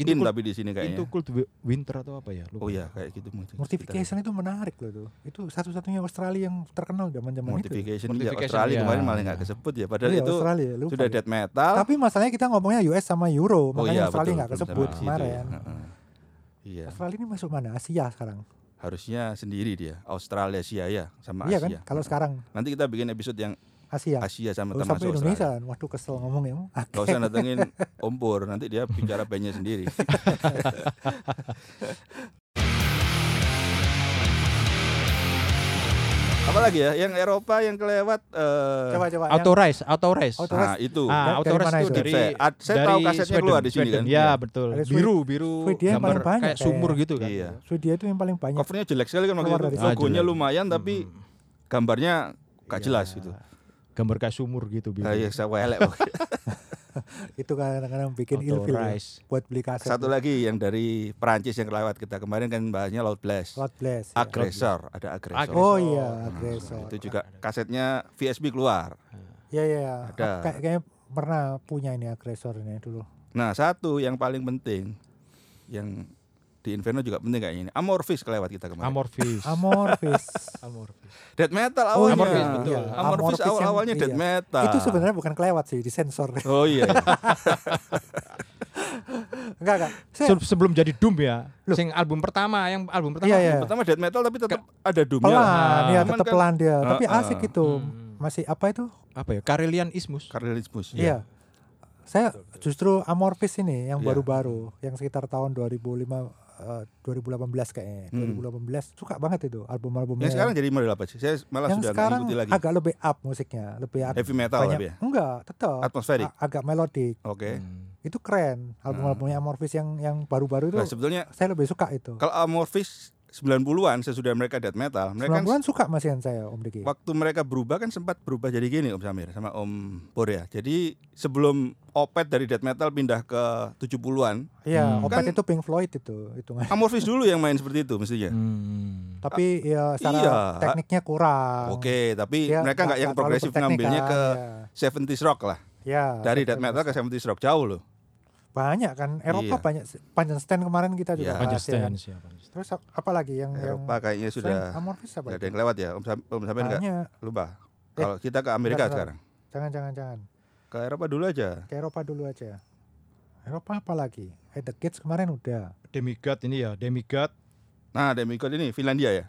Into
in
Cold-
tapi di sini
Into
kayaknya.
Cold Wi- Winter atau apa ya lupa
Oh iya, kayak gitu mungkin.
Mortification itu menarik loh itu. Itu satu-satunya Australia yang terkenal zaman-zaman itu.
Mortification, iya,
Mortification,
Australia
iya.
kemarin malah nggak kesebut ya. Padahal
Iya,
itu
Australia, lupa
sudah
ya.
death metal.
Tapi masalahnya kita ngomongnya US sama Euro,
oh
makanya
iya,
Australia
betul,
nggak
belum
kesebut
sampai di situ ya.
kemarin.
Heeh. Iya,
Australia ini masuk mana? Asia sekarang.
harusnya sendiri dia. Australia, Asia ya, sama
iya kan?
Asia.
Kalau sekarang
Nanti kita bikin episode yang
Asia.
Asia sama
Kalau
termasuk
sampai
Australia.
Indonesia, kan? waduh kesel ngomongnya. Ah,
Gak usah datengin Om Pur, nanti dia bicara bandnya sendiri. Apalagi ya, yang Eropa yang kelewat. eh,
[laughs] Coba coba. yang-
Authorize Authorize
Authorize.
nah itu.
Dari-
ah Authorize
dari mana
itu
itu?
dari
Saya- ad- saya tahu kasetnya keluar di sini
Sweden.
kan?
ya
Iya.
betul
Dari Sweden.
biru biru
Sweden yang
gambar
paling banyak
kayak sumur
kayaknya. Hmm.
gitu kan
Iya.
Swedia itu yang paling banyak.
Covernya jelek sekali kan waktu
Keluar
itu.
dari
sana.
Logonya
Ah, jelek.
lumayan tapi
Iya,
gambarnya gak jelas iya. gitu.
gambar kayak sumur gitu biru
Ah, iya, saya welek.
itu kadang-kadang bikin
Auto
ilfil ya,
Rise.
buat beli kaset.
[laughs]
ya.
Satu lagi yang dari Perancis yang lewat kita kemarin kan bahasnya Loud Blast.
God bless. ya.
Agresor, ada agresor.
Oh
Agresor.
iya,
Nah,
agresor.
Itu juga kasetnya VSB keluar.
Ya ya,
Ada.
kayak kayaknya pernah punya ini agresornya dulu.
Nah, satu yang paling penting yang di Inferno juga penting kayaknya ini. Amorphis kelewat kita kemarin.
Amorphis.
[laughs]
Amorphis.
Amorphis.
death metal
Oh
awalnya.
Amorphis, betul.
iya.
Amorphis
Amorphis yang-
awal-awalnya death
iya.
metal.
Itu sebenarnya bukan kelewat sih, disensor. [laughs]
Oh iya. iya.
enggak enggak. Saya,
Se- Sebelum jadi Doom ya. Sing album pertama, yang album pertama.
Iya, iya.
Pertama death metal tapi tetap ada doomnya. lah.
pelan, ya
Cuman
tetap
kan- hmm,
pelan dia. Tapi
Heeh.
asik itu. Masih apa itu?
Apa ya? Karelian Ismus.
Karelinismus.
Iya. Saya justru amorphis ini yang
Iya.
baru-baru, yang sekitar tahun 2005 eh, 2018 kayaknya. 2018 suka banget itu album-albumnya.
Hmm. Yang sekarang jadi model apa sih? Saya
Iya.
malah
yang
sudah nggak
sekarang
ngikuti lagi.
agak lebih up musiknya, lebih ag-
Heavy metal
banyak- Ah. Hmm.
tapi ya?
Enggak, tetap
Atmosferik?
a- agak melodik.
Oke.
Hmm.
Itu keren album-albumnya Amorphis yang yang baru-baru itu.
Hmm. Nah, sebetulnya
saya lebih suka itu.
kalau Amorphis 90-an sesudah mereka death metal, mereka kan
90-an suka masihan saya Om Diki.
waktu mereka berubah kan sempat berubah jadi gini Om Samir sama Om Borea. Jadi sebelum Opet dari death metal pindah ke 70-an,
Iya, Opet
Kan-
itu Pink Floyd itu hitungan.
Amorphis dulu yang main seperti itu mestinya.
Hmm.
Tapi ya secara
iya.
tekniknya kurang.
Oke, tapi
Dia
mereka nggak
Ah. Iya,
yang
terlalu
progresif
berteknik
ngambilnya
kan,
ke
ya.
70s rock lah.
Ya,
Dari
betul.
death metal ke 70s rock jauh loh.
banyak kan Eropa
Iya.
banyak panjang stand kemarin kita juga
Iya.
bahas, ya kan?
Panjestan siapa?
Terus ap- apa lagi yang
Eropa
yang
kayaknya
selain
sudah
Amorphis Iya. apa?
nggak ada
itu?
yang lewat ya Om Sam- Om Samir nggak
Banyak.
lupa.
Eh,
Kalau kita ke
bentar, bentar.
Amerika sekarang,
Jangan jangan jangan.
ke Eropa dulu aja.
Ke Eropa dulu aja. Eropa apa lagi? Eh, The Kids kemarin udah.
Demigod ini ya, Demigod
Nah, Demigod ini Finlandia ya.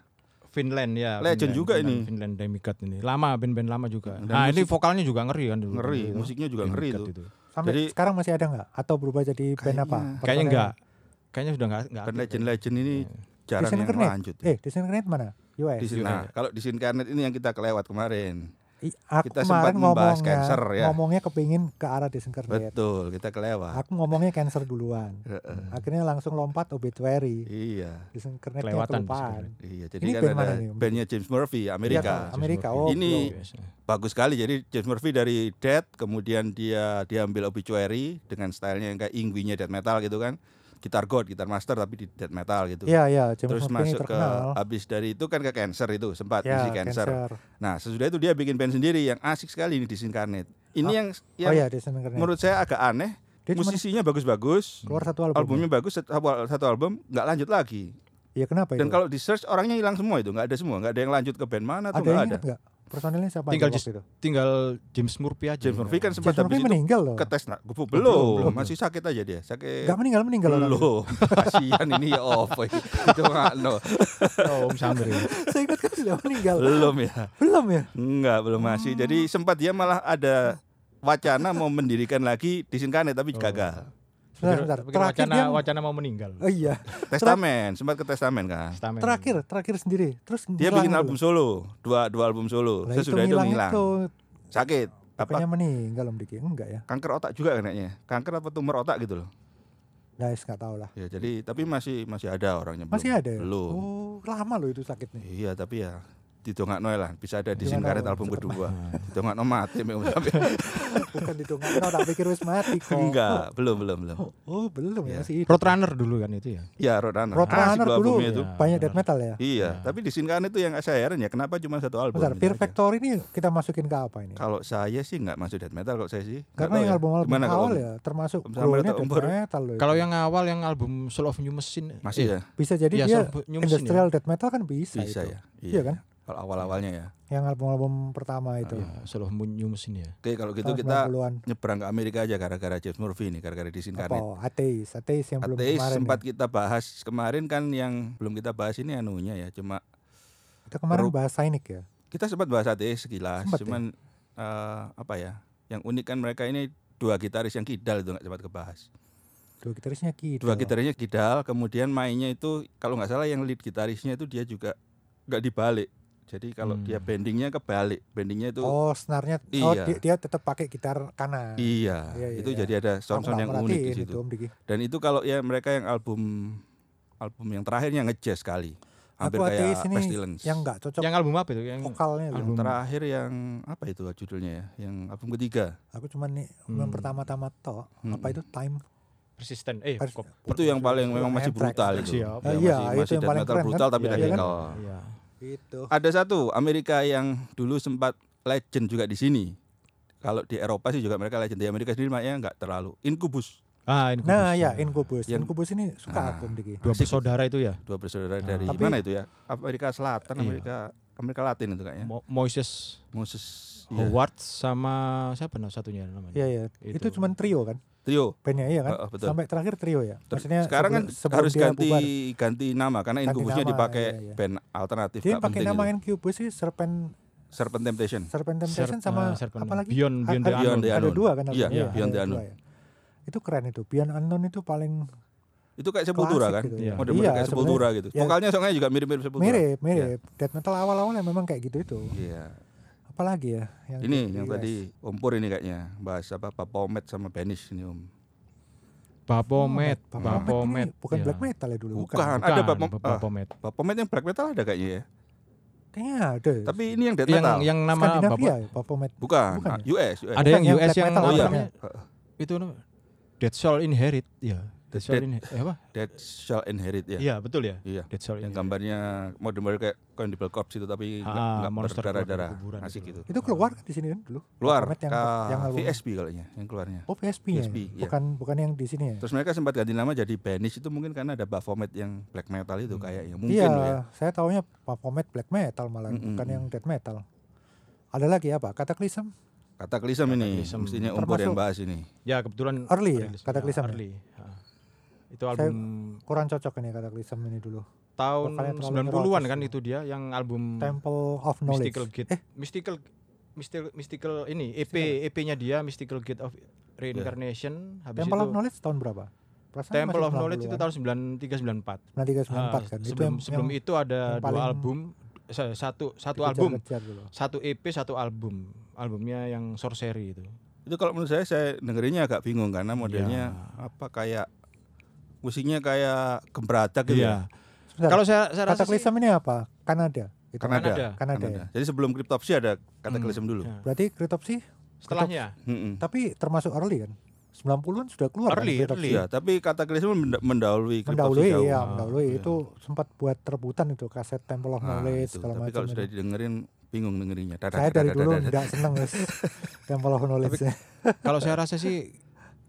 Finland ya.
Legend
Finland,
juga
Finland,
ini.
Finland Demigod ini. Lama band-band lama juga.
Dan
Nah, ini
musik-
vokalnya juga ngeri kan dulu.
Ngeri,
Iya.
Itu.
musiknya juga ngeri
Demigod
itu.
Sampai
Jadi-
sekarang masih ada nggak? Atau berubah jadi band
Kayaknya-
apa?
Kayaknya
Personelnya?
enggak. Kayaknya sudah enggak enggak.
Kan
aktif kayaknya.
legend-legend ini
Iya.
jarang
Disney
yang
Kernet?
lanjut. ya.
Eh, Disincarnate mana? US.
Di sini. Nah, kalau di Sinkarnet ini yang kita kelewat kemarin.
I- aku
kita sempat
kemarin
membahas
ngomongnya,
cancer, ya.
ngomongnya kepingin ke arah Disincarnate.
Betul, kita kelewat.
Aku ngomongnya cancer duluan.
Heeh.
Akhirnya langsung lompat obituary.
Iya.
Disincarnate
Kelewatan
kelupaan.
Iya, jadi
Ini
kan
band
ada
mana nih, Om?
bandnya James Murphy
Iya,
Amerika.
Kak. Amerika,
James
oh,
Murphy.
Ini-
Yes, ya.
Bagus sekali. Jadi James Murphy dari Dead, kemudian dia diambil obituary dengan stylenya yang kayak ingwinya death metal gitu kan. Gitar god, gitar master tapi di death metal gitu.
Iya, iya, James
Terus
Murphy ini
masuk ke
terkenal.
habis dari itu kan ke cancer itu sempat
ya,
isi cancer. Nah, sesudah itu dia bikin band sendiri yang asik sekali ini Disincarnate.
Ah,
Ini yang yang
Oh iya, Disincarnate.
menurut saya agak aneh.
Dia cuma
Musisinya bagus-bagus,
keluar satu album.
albumnya bagus satu, satu album nggak lanjut lagi.
Iya, kenapa
Dan
itu?
kalau di search orangnya hilang semua itu, nggak ada semua, nggak ada yang lanjut ke band mana
ada
tuh nggak
yang
ada.
ingat nggak? Personelnya siapa
Tinggal
aja
just-
waktu itu?
tinggal James Murphy aja.
James Murphy kan sempat
James
habis
Murphy
itu
meninggal loh.
ke tes nah, belum,
belum.
masih sakit aja dia, sakit.
Gak meninggal meninggal orang.
belum. [laughs] Kasihan ini ya apa ini? itu nggak, no.
Oh, Om
[laughs]
Samir. ya.
[laughs] Saya ingat kan sudah meninggal.
Belum ya.
Belum ya?
Enggak, belum masih. Jadi sempat dia malah ada wacana mau mendirikan lagi di Sinkarnet tapi gagal.
Sebentar, sebentar.
Bikin
Terakhir
wacana,
dia
wacana mau meninggal.
Oh iya.
Testamen, sempat ke testamen kan.
Stamen.
Terakhir, terakhir sendiri. Terus
Dia
ngilang
bikin
dulu.
album solo, dua dua album solo.
Lah,
Sesudah itu
ngilang
hilang.
itu.
Sakit. Apa
Bukannya meninggal Om Diki? Enggak ya?
kanker otak juga kayaknya. Kanker apa tumor otak gitu loh.
Guys, nggak tahu lah.
Ya jadi tapi masih masih ada orangnya belum.
Masih ada ya?
Belum.
Oh, lama loh itu sakitnya.
Iya tapi ya didongakno lah bisa ada di
Didongakno.
Sinkaret album kedua. Didongakno mati
[laughs]
memang sampai.
Bukan ditunggu, tak pikir wis mati kok.
Enggak, belum belum belum.
Oh, belum
Ya.
ya masih hidup.
Roadrunner dulu kan itu ya.
Ya Roadrunner.
Roadrunner
Asik loh
dulu.
albumnya itu.
Ya.
Banyak death metal ya?
Iya, tapi di Sinkaret itu yang saya heran ya kenapa cuma satu album.
Bentar,
gitu
Fear
aja.
Factory ini kita masukin ke apa ini?
Kalau saya sih nggak masuk death metal kalau saya sih. Nggak
Karena
tahu
yang album-album
Gimana kalau
awal
Om?
ya termasuk
Om Samir
grownya
atau Om
death
Bor?
metal loh.
Kalau yang awal yang album Soul of New Machine
Masih ya?
bisa jadi
Iya,
dia
Soul of New Machine ya.
industrial death metal kan bisa,
Bisa
itu.
ya.
Iya kan?
Kalau awal-awalnya ya.
Yang album-album pertama itu.
Ya, Soul of New Machine ya.
Oke, kalau gitu
Tahun
Iya. kita
90-an.
nyebrang ke Amerika aja gara-gara James Murphy ini, gara-gara
Apa?
disinkarnet.
Ateis, ateis yang belum
Ateis
kemarin.
sempat
ya.
kita bahas kemarin kan yang belum kita bahas ini anunya ya, cuma
Kita kemarin
Peru-
bahas Sainik ya.
kita sempat bahas ateis sekilas,
Sempat ya?
cuman eh, apa ya? Yang unik kan mereka ini dua gitaris yang kidal itu nggak sempat kebahas.
Dua gitarisnya gitu.
Dua gitarisnya kidal, kemudian mainnya itu kalau nggak salah yang lead gitarisnya itu dia juga nggak dibalik. Jadi kalau
Hmm.
dia bendingnya kebalik, bendingnya itu
Oh, senarnya oh
Iya.
dia, dia tetap pakai gitar kanan.
iya,
Iya, iya,
itu
iya.
jadi ada
Aku
sound-sound
nggak
yang unik di
merhatiin
situ.
itu, Om Diki.
Dan itu kalau ya mereka yang album album yang terakhirnya ngejazz sekali. hampir
Aku
kayak
ateis ini
pestilence.
yang nggak cocok
Yang album apa itu? Yang
vokalnya loh.
Yang
album.
terakhir yang apa itu judulnya ya? Yang album ketiga.
Aku cuman nih yang
Hmm.
pertama-tama toh
Hmm.
apa itu time
persisten. Eh,
Pers-
kok-
Itu yang paling
Itu
memang masih
Anthrax.
brutal itu.
Siap.
Yang
Iya,
masih,
itu
masih
yang
death
paling
metal
keren Gitu. kan?
brutal Ah, tapi
Iya, iya kan?
technical.
Iya.
itu.
Ada satu Amerika yang dulu sempat legend juga di sini. Kalau di Eropa sih juga mereka legend. Di Amerika sendiri makanya nggak terlalu. Incubus,
Ah, ini
Nah,
Kubus.
ya Incubus.
Yang-
Incubus ini
Ah.
suka aku Diki.
dua bersaudara itu ya.
dua bersaudara dari
Ah. Tapi-
mana itu ya? Amerika Selatan,
Iya.
Amerika Amerika Latin itu kayaknya.
Mo- Moises
Moses Ya. iya.
Howard sama siapa nah satunya namanya?
Iya, iya.
Itu.
Itu, cuman trio kan?
Trio.
Bandnya iya kan?
Heeh, Oh, betul.
Sampai terakhir trio ya.
Ter-
Maksudnya
sekarang kan
sebelum- sebelum
harus
dia
ganti
bubar.
ganti nama karena
Ganti
Incubusnya
nama,
dipakai
iya, iya.
band alternatif
Dia
nggak
pakai
penting
nama
itu.
Incubus sih Serpent
Serpent Temptation.
Serpent Temptation
Serp-
sama
ah, Serpent-
apa lagi?
Beyond
A-
Beyond the
ada-
Beyond the
Ada
Unknown.
dua kan?
Iya,
albumnya,
Beyond
ada
the
dua
Unknown.
ya. Itu keren itu. Beyond Unknown itu paling
Itu kayak Sepultura
klasik
kan.
gitu.
Iya.
ya.
Model-model
Iya,
kayak Sepultura gitu.
Ya.
Vokalnya soalnya juga mirip-mirip Sepultura.
Mirip, mirip. Death metal awal-awal ya memang kayak gitu itu.
Iya.
Apalagi ya yang
Ini
di
yang
US.
tadi Om Pur ini kayaknya bahas apa Papomet sama Banish ini Om.
Bapomet,
Bapomet
Bapomet.
ini Oh, bukan
Iya.
black metal ya dulu, bukan.
Bukan.
Bukan,
Ada Bapom- ah.
Bapomet.
Papomet yang black metal ada kayaknya ya.
Kayaknya ada.
Tapi ini yang death
Yang
metal. Iya.
yang nama
Skandinavia
Bapo-
ya, Bapomet.
Bukan,
Bukan
ah,
ya?
US, US.
Ada
Bukan,
yang
yang
US
black
yang
metal
oh iya.
namanya- itu nama Dead Soul Inherit, ya. Dead Soul
Dead-
Inherit. Eh, apa?
Dead Shall Inherit ya.
Iya, betul ya.
Iya.
Dead Soul
Yang
Inherit.
gambarnya model-model kayak Cannibal Corpse itu tapi nggak
Ah,
nggak
monster
berdarah-darah.
keluar dari kuburan
Asik
gitu.
gitu.
Itu keluar di sini kan dulu.
Keluar Ah,
Bapomet yang,
ke
yang album.
VSB kayaknya yang keluarnya.
Oh VSP, -nya
VSP,
ya?
iya.
Bukan bukan yang di sini ya.
Terus mereka sempat ganti nama jadi Banish itu mungkin karena ada Baphomet yang black metal itu kayaknya. Mungkin
Iya,
loh ya.
saya taunya Bapomet black metal malah
Mm-mm.
bukan yang death metal. Ada lagi apa? Cataclysm?
Kataklism ini
Cataclysm.
mestinya Om Pur yang
Termasuk-
bahas ini.
Ya, kebetulan
Early ya,
rilis.
Cataclysm ya?
Early. Ah. Itu
Saya-
album
Kurang cocok ini Cataclysm ini dulu.
tahun
vokalnya terlalu ya.
90-an kan
neurotis.
itu dia yang album
Temple of Knowledge.
Hmm. Mystical Gate.
Eh,
Mystical Mystical Mystical ini E EP
Mystical.
EP-nya dia Mystical Gate of Reincarnation habis
Iya. Temple
itu
of Knowledge tahun berapa? Perasaan
Temple
masih ya.
of Knowledge itu
90-an.
tahun 93 94.
93
Ah,
94 kan. itu
sebelum
yang,
sebelum
yang
itu ada
yang
dua
paling
album sa- satu satu album,
dikejar-kejar dulu.
satu EP, satu album. Albumnya yang Sorcery itu.
Itu kalau menurut saya saya dengerinnya agak bingung karena modelnya
Iya.
apa kayak musiknya kayak gembratak gitu
Iya.
ya.
Sebentar,
Kalau saya saya rasa sih-
Cataclysm ini apa? Kanada. Itu kan?
Kanada.
Kanada.
Kanada ya.
Jadi sebelum Cryptopsy ada
Hmm.
Kataklism dulu.
Ya.
Berarti Cryptopsy
Setelahnya
Mm-mm.
tapi termasuk early kan? 90-an sudah keluar
Early,
kan Cryptopsy.
Iya, tapi Kataklism menda- mendahului Cryptopsy
Mendahului
jauh.
ya,
Ah,
mendahului
iya.
itu sempat buat terputan itu kaset Temple of
Nah,
Knowledge
itu.
segala
Tapi
macam.
kalau sudah
itu.
didengerin bingung dengerinnya. Dadah,
Saya
dadah,
dari
dadah,
dulu
dadah.
enggak seneng
[laughs]
wis Temple of Knowledge.
kalau saya rasa sih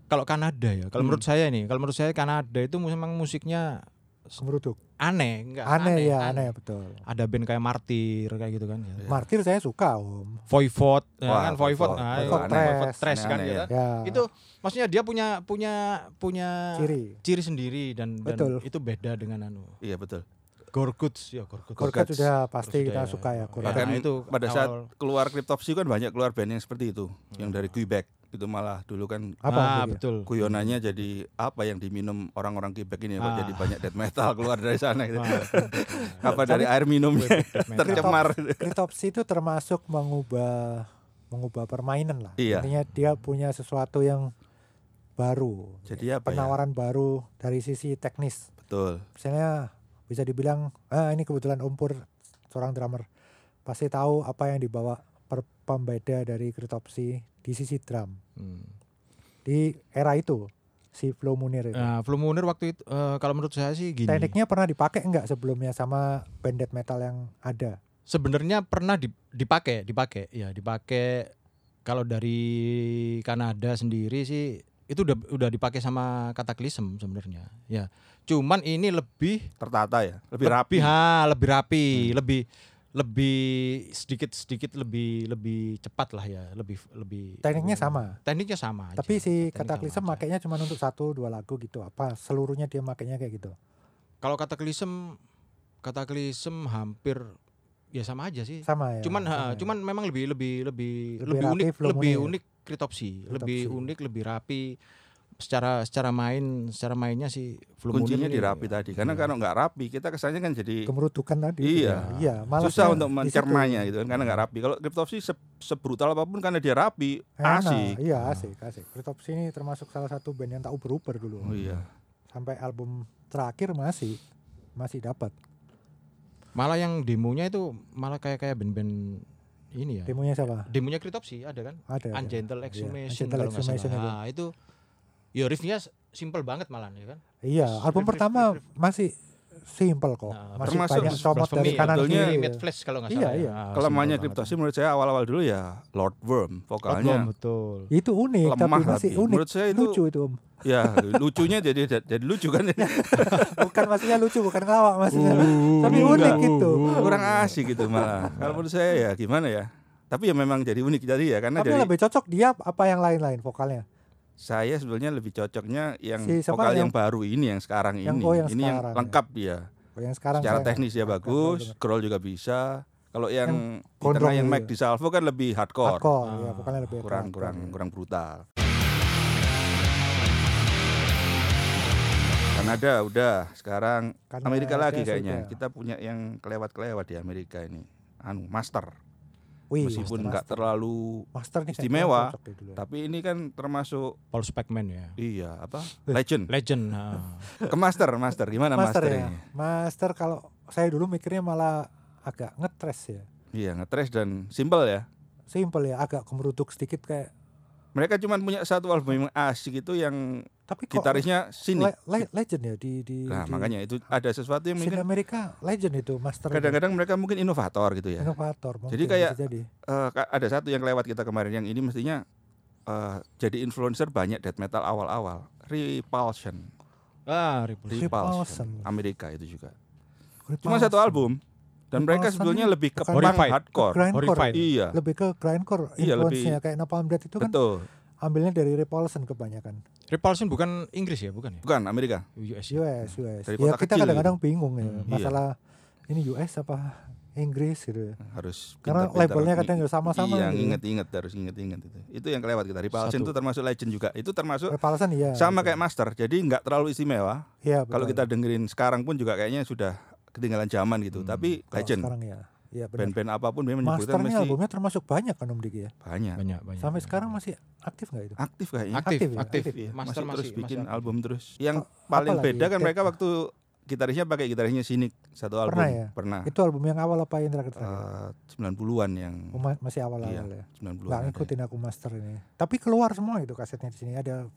kalau Kanada ya. Kalau
Hmm.
menurut saya nih, kalau menurut saya Kanada itu memang musiknya
Kemeruduk.
aneh, enggak
Aneh ya, aneh betul.
Ada band kayak Martir kayak gitu kan ya.
Martir saya suka, Om.
Voivod, ya
Wah,
kan
Voivod.
Voivod, ah,
Voivod
iya, Voivod
Trash.
Trash kan
Aneh-aneh
ya
ya.
kan?
Ya.
Itu maksudnya dia punya punya punya
ciri.
sendiri dan, dan
Betul.
itu beda dengan anu
Iya, betul.
Gorguts ya Gorguts.
Gorka
Gorguts.
sudah pasti
Sudah
kita
ya.
suka ya Gorka.
Bahkan
Nah, itu
pada saat
awal- Iya.
keluar Cryptopsy kan banyak keluar band yang seperti itu, yang dari Quebec itu malah dulu kan
Apa
ah,
itu dia?
betul.
guyonannya jadi apa yang diminum orang-orang Quebec ini Pak.
Ah.
jadi banyak death metal keluar dari sana gitu.
Ah,
apa dari air minumnya tercemar gitu.
Cryptopsy itu termasuk mengubah mengubah permainan lah.
Iya.
Artinya dia punya sesuatu yang baru,
Jadi apa ya?
penawaran baru dari sisi teknis.
Betul.
Misalnya bisa dibilang, ah ini kebetulan umpur seorang drummer pasti tahu apa yang dibawa per pembeda dari Cryptopsy di sisi drum
Hmm.
di era itu si Flo Munir itu.
Nah, Flu Munir waktu itu eh, kalau menurut saya sih
Gitu.
gini.
Tekniknya pernah dipakai enggak sebelumnya sama bandet metal yang ada?
sebenarnya pernah di- dipakai, dipakai, ya dipakai. Kalau dari Kanada sendiri sih itu udah udah dipakai sama Cataclysm sebenarnya, ya. Cuman ini lebih
Tertata ya, lebih rapi.
lebih, ha, lebih rapi, lebih lebih sedikit sedikit lebih lebih cepat lah ya, lebih lebih.
Gitu.
Tekniknya
lebih-
sama.
Tekniknya sama. aja.
Tapi si
Teknik sama
Cataclysm
aja.
makainya cuma untuk satu dua lagu gitu apa seluruhnya dia makainya kayak gitu.
Kalau Cataclysm, Cataclysm hampir ya sama aja sih.
Sama ya.
cuman ha,
sama ya.
cuman memang lebih lebih lebih
Lebih rapi
lebih, unik
flow-nya
lebih
ya?
unik kritopsi lebih
Cryptopsy.
unik lebih rapi secara secara main secara mainnya sih Flow
Kuncinya
Moon ini-
dirapi tadi. Karena
Iya.
kalau nggak rapi kita kesannya kan jadi
kemerutukan tadi.
Iya.
Iya, malasnya
ya,
susah untuk
di situ.
mencernanya gitu kan karena nggak rapi. Kalau Cryptopsy se- sebrutal apapun karena dia rapi,
Enak.
asik. Ah.
Iya, asik, asik. Cryptopsy ini termasuk salah satu band yang tak uber-uber dulu.
Oh iya.
Sampai album terakhir masih masih dapat.
Malah yang demonya itu malah kayak kayak band-band ini ya.
Demonya siapa?
Demonya Kritopsi ada kan?
Ada. ada.
Ungentle
Iya,
Exhumation
Ungentle
kalau nggak salah.
Exhumation itu.
Nah, itu ya riffnya s- simple banget malah ya kan.
Iya, album
Riff, riff,
pertama
riff,
masih simple kok.
Nah,
masih
termasuk
banyak comot
Blasphemy
dari
ya,
kanan
sebetulnya-
kiri.
Remade Flash kalau nggak
Iya,
salah. ya.
iya.
Ah, simple
Kelemahnya
banget.
kriptosi menurut saya awal-awal dulu ya Lord Worm
Problem,
vokalnya
betul.
Itu unik Iya, tapi
lemah
masih
tapi.
unik.
Menurut saya itu
Lucu itu, Om.
ya lucunya jadi jadi lucu kan
[laughs] Bukan Kan maksudnya lucu, bukan ngelawak maksudnya. tapi
uh,
unik
enggak.
gitu.
kurang asik gitu malah. Kalau menurut saya ya gimana ya. Tapi ya memang jadi unik jadi ya karena
Tapi
dari
lebih cocok dia apa yang lain-lain vokalnya.
saya sebetulnya lebih cocoknya yang
Si siapa
vokal yang,
yang-
baru ini yang sekarang
Yang-
ini.
oh, yang
ini
sekarang
yang
ya.
lengkap dia.
Oh, Yang sekarang
Secara
saya-
teknis dia
saya-
bagus,
saya-
scroll juga bisa. Kalau yang, di
gondrong
tengah yang
gitu
Mike
ya.
di Salvo kan lebih hardcore.
Hardcore, ya,
Ah,
vokalnya lebih
Kurang
hardcore. Iya.
kurang kurang brutal. Kanada udah, sekarang
Kanada
Amerika lagi
Iya,
kayaknya.
sudah.
Kita punya yang kelewat-kelewat di Amerika ini. Anu, master.
Wih,
Meskipun
Iya, Master-
nggak terlalu
Master nih kayaknya
istimewa,
cocok deh dulu ya.
tapi ini kan termasuk
Paul Speckman ya.
iya apa?
[laughs]
Legend.
Legend.
Iya.
ah.
Ke master, master. Gimana
master
master,
ya.
ini?
Master kalau saya dulu mikirnya malah agak ngetres ya.
Iya, ngetres dan simple ya.
Simple ya, agak kemeruduk sedikit kayak
Mereka cuma punya satu album yang asik itu yang
tapi kok
gitarisnya sini.
le- le- legend ya di di,
Nah,
di
makanya itu ada sesuatu yang
scene
mungkin
Amerika legend itu master
kadang-kadang mereka mungkin inovator gitu ya.
inovator mungkin
Jadi kayak-
bisa jadi.
Eh, ka- ada satu yang lewat kita kemarin yang ini mestinya eh, jadi influencer banyak death metal awal-awal. Repulsion,
Ah, Repulsion.
Repulsion.
Repulsion, Amerika itu juga.
Repulsion.
Cuma satu album dan
Repulsion
mereka
kan
sebetulnya lebih ke
bukan
punk
Horrified.
hardcore.
grindcore
Horrified.
Iya,
lebih ke grindcore
Iya,
influence-nya
lebih-
kayak Napalm Death itu kan
betul.
ambilnya dari Repulsion kebanyakan
Repulsion bukan Inggris ya, bukan ya?
Bukan Amerika.
US. ya?
US US
Iya. Dari
ya
kota
kita
kecil
kadang-kadang bingung ya
Hmm.
Iya.
masalah ini US apa Inggris gitu ya
Harus
Karena
pintar-pintar.
labelnya kadang
I-
ya sama-sama
Iya,
gitu.
inget-inget harus inget-inget itu. Itu yang kelewat kita. Repulsion
Satu.
itu termasuk legend juga. Itu termasuk
Repulsion iya betul.
sama kayak Master. Jadi nggak terlalu istimewa.
Iya,
Kalau
betul.
kita dengerin sekarang pun juga kayaknya sudah ketinggalan zaman gitu.
Hmm.
Tapi
Kalau
legend.
sekarang ya iya benar
Band-band apapun dia menyebutkan
Masternya
mesti
albumnya termasuk banyak kan Om
Iya.
Diki ya.
banyak.
Banyak, banyak.
Sampai sekarang masih aktif nggak itu?
Aktif kayaknya.
aktif,
aktif
aktif.
ya? Aktif
Iya, masih
Master masih
terus
masih
bikin
aktif.
album terus. Yang
A-
paling
apalagi?
beda kan
Tek-
mereka waktu gitarisnya pakai gitarisnya Sinik satu album.
Pernah ya?
Pernah.
Itu album yang awal apa yang terakhir? terakhir?
Eh, 90-an yang
Oh, ma- masih
Iya,
awal-awal ya.
90-an.
Nggak
ada.
ngikutin aku master ini. Tapi keluar semua itu kasetnya di sini ada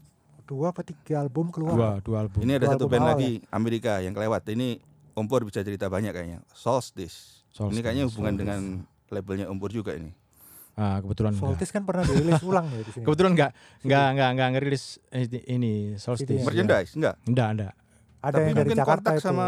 dua apa tiga album
dua
keluar.
dua album.
Ini ada
Dua
satu
album
band
awal ya?
lagi Amerika yang kelewat. Ini Ompur bisa cerita banyak kayaknya. Solstice. Ini
Solstice,
kayaknya hubungan
Solstice.
dengan labelnya Ompur juga ini.
Ah, kebetulan
Iya.
enggak.
Soltis kan pernah dirilis ulang ya di sini.
Kebetulan enggak enggak enggak enggak ngerilis ini- ini Solstice.
Iya.
Merchandise enggak?
Enggak, enggak.
Ada
Tapi
yang dari
mungkin
Jakarta
kontak
itu.
sama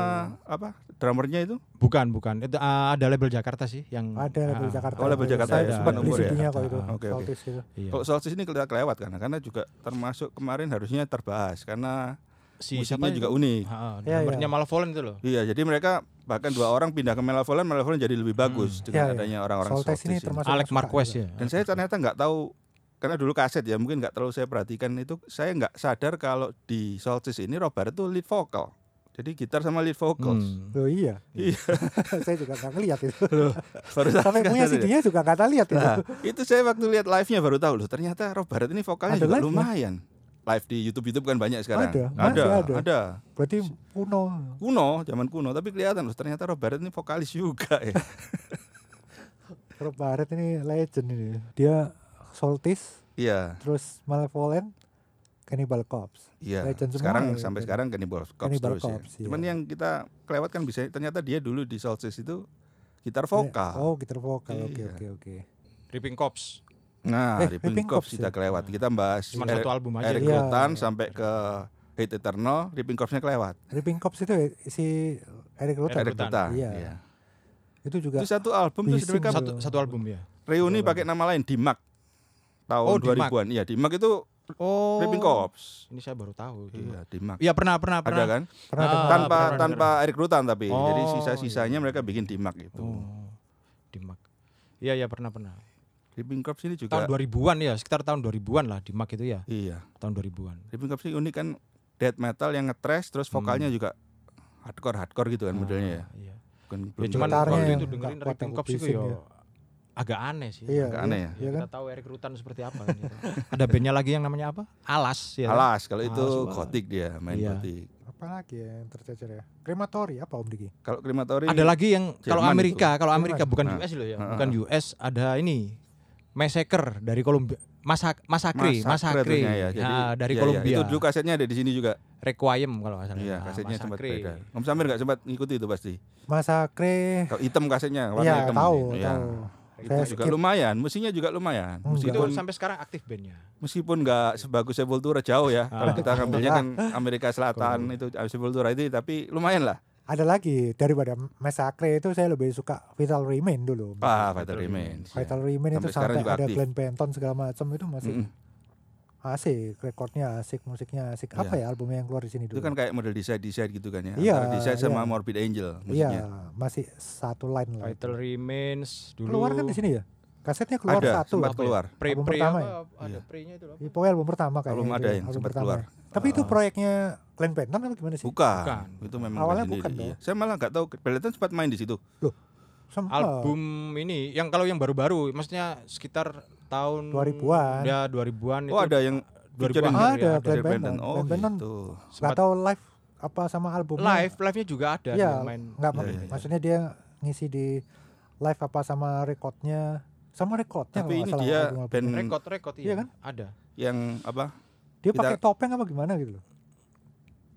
apa? Drummernya itu?
Bukan, bukan. Itu ah, ada label Jakarta sih yang
Ada dari
ah,
Jakarta.
Oh, label
Saya
Jakarta ya,
sempat
bukan
beli
umur ya?
CD-nya kok itu.
Ah,
oke, oke.
Soltis itu.
Iya.
Kalau Solstice ini kelewat kelewat karena karena juga termasuk kemarin harusnya terbahas karena
si
musiknya
siapa
juga
juga
unik. Ya,
Heeh,
Iya, iya.
nomornya Malevolent itu loh.
Iya, jadi mereka bahkan dua orang pindah ke Malevolent, Malevolent jadi lebih bagus
Iya, iya.
dengan adanya orang-orang
Soltis
Solstice
ini
ini.
termasuk
Alex
aku suka
Marquez
juga.
ya.
Dan saya ternyata nggak tahu karena dulu kaset ya mungkin nggak terlalu saya perhatikan itu saya nggak sadar kalau di Solstice ini Robert tuh lead vokal. Jadi gitar sama lead vocals.
Hmm.
Loh iya.
Iya.
[laughs] Saya juga nggak ngeliat itu.
[laughs] Baru saya
Sampai punya
sadar ya.
CD-nya juga nggak lihat itu.
Nah, itu saya waktu lihat live-nya baru tahu loh. Ternyata Robert ini vokalnya
Ada
juga
live-nya?
lumayan. Live di YouTube-YouTube kan banyak sekarang.
Ada, masih
ada.
ada. Berarti kuno.
Kuno, zaman kuno, tapi kelihatan loh ternyata Robert ini vokalis juga
[laughs]
ya.
Rob Barrett ini legend ini. Dia Soltis,
Iya,
terus Malevolent, Cannibal Corpse.
iya.
Legend semua
Sekarang
ya,
sampai
legend.
sekarang Cannibal Corpse
Cannibal
terus ya.
Corpse, iya.
Cuman yang kita kelewat kan bisa ternyata dia dulu di Solstice itu gitar vokal.
Oh, gitar vokal. Oke,
Iya.
oke, oke.
Ripping Corps.
Nah,
Eh,
Ripping
Ripping
Corps
Corpse
kita
ya.
kelewat. Kita bahas
Cuma
Eric,
satu album aja.
Eric
Iya.
Rutan sampai ke Hate Eternal, Ripping Corpse-nya kelewat.
Ripping Corpse itu ya, si Eric Rutan.
Eric Rutan.
Iya.
Iya.
Itu juga
Itu satu album terus
Bising
mereka
satu.
Satu satu album ya.
reuni pakai nama lain Dimak tahun
Oh, Dimak.
2000-an. Iya, Dimak itu
Oh.
Ripping Corps.
Ini saya baru tahu.
Iya, Dimak.
Iya pernah
Ada
pernah pernah.
kan?
pernah
Ah,
dengar.
tanpa
pernah,
tanpa Eric Rutan tapi jadi
Oh,
sisa-sisanya
iya.
mereka bikin Dimak itu.
Oh. Dimak. Iya iya pernah pernah.
Ripping Corps ini juga
Tahun 2000-an ya, sekitar tahun 2000-an lah Dimak itu ya,
Iya,
tahun 2000-an.
Ripping Corps ini unik kan death metal yang ngetrash terus
Hmm.
vokalnya juga hardcore hardcore gitu kan modelnya ya.
Ah, Iya.
Bukan
Ya
belum Iya. terlalu
cuman
gitarnya
waktu
terlalu
itu
yang
dengerin
nggak kuat
Ripping
aku
Corps itu
pusing
ya
ya.
agak aneh sih.
Iya,
agak
iya,
aneh ya.
iya kan?
Kita tahu Eric Rutan seperti apa. kan, gitu. Ada bandnya lagi yang namanya apa? Alas ya.
Alas kalau itu
Alas banget.
gotik dia main
Iya.
gotik.
apa lagi ya yang tercecer ya krematori apa om Diki
Kalau krematori
Ada lagi yang kalau
Jerman
Amerika, kalau Amerika
Jerman.
bukan
Nah.
US loh ya,
Nah,
bukan US ada ini massacre dari Kolombia, masak masakri,
Masakre
masakri
ternyata ya, jadi-
Nah,
iya,
dari
iya.
Kolombia.
Itu dulu kasetnya ada di sini juga.
Requiem kalau nggak salah.
Iya,
Nah,
kasetnya sempat
Masakre.
beda. Om Samir nggak sempat ngikuti itu pasti.
masakre
Kalau hitam kasetnya, warna
Iya
hitam.
tahu
Iya.
tahu
Itu
saya
juga
skip
lumayan, musinya juga lumayan.
Oh,
Itu
Meskipun
sampai sekarang aktif bandnya.
meskipun nggak sebagus Sepultura jauh ya. Kalau
Ah.
kita ngambilnya kan Amerika Selatan itu Sepultura itu tapi lumayan lah.
ada lagi daripada masakre itu saya lebih suka vital remain dulu
Ah, Vital Remains. ya.
vital remain itu
Sampai sekarang
sampai
juga
ada
aktif.
Glenn Benton segala macam itu masih
Mm-mm.
asik rekornya asik musiknya asik
Iya.
apa ya albumnya yang keluar di sini
Itu
dulu
kan kayak model decide decide gitu kan ya.
Iya,
Antara decide sama
iya.
Morbid Angel
iya
musiknya.
masih satu line lah
Title Remains dulu.
keluar kan di sini ya kasetnya keluar
Ada,
satu
sempat
Apa ya?
keluar.
Pre,
Album
pre
pertama
apa, ada
Iya.
pre-nya itu apa?
Ya, pokoknya album pertama kayaknya
Belum
itu
ada
ya,
yang
album
sempat
pertama.
keluar.
tapi itu
Ah.
proyeknya Glenn Benton apa gimana sih
Bukan.
Bukan.
Itu memang
Awalnya
band
bukan
sendiri,
dong.
iya. Saya malah nggak tahu Peloton sempat main di situ.
Semua.
Album ini yang kalau yang baru-baru, maksudnya sekitar tahun
2000-an.
Ya 2000-an
Oh,
itu. ya,
ada yang
2000-an
featuring
ada
dari-
Glenn
dari
Benton.
Benton. Oh,
Glenn Benton.
gitu.
nggak tahu live apa sama album
live, live-nya juga ada
ya
dia main.
nggak
Iya, iya, iya.
maksudnya dia ngisi di live apa sama rekodnya sama rekodnya kalau
Tapi ini
nggak
dia
salah album-albumnya.
band
Rekod, rekod
Iya
iya,
kan?
Ada.
yang apa?
dia
kita-
pakai topeng apa gimana gitu loh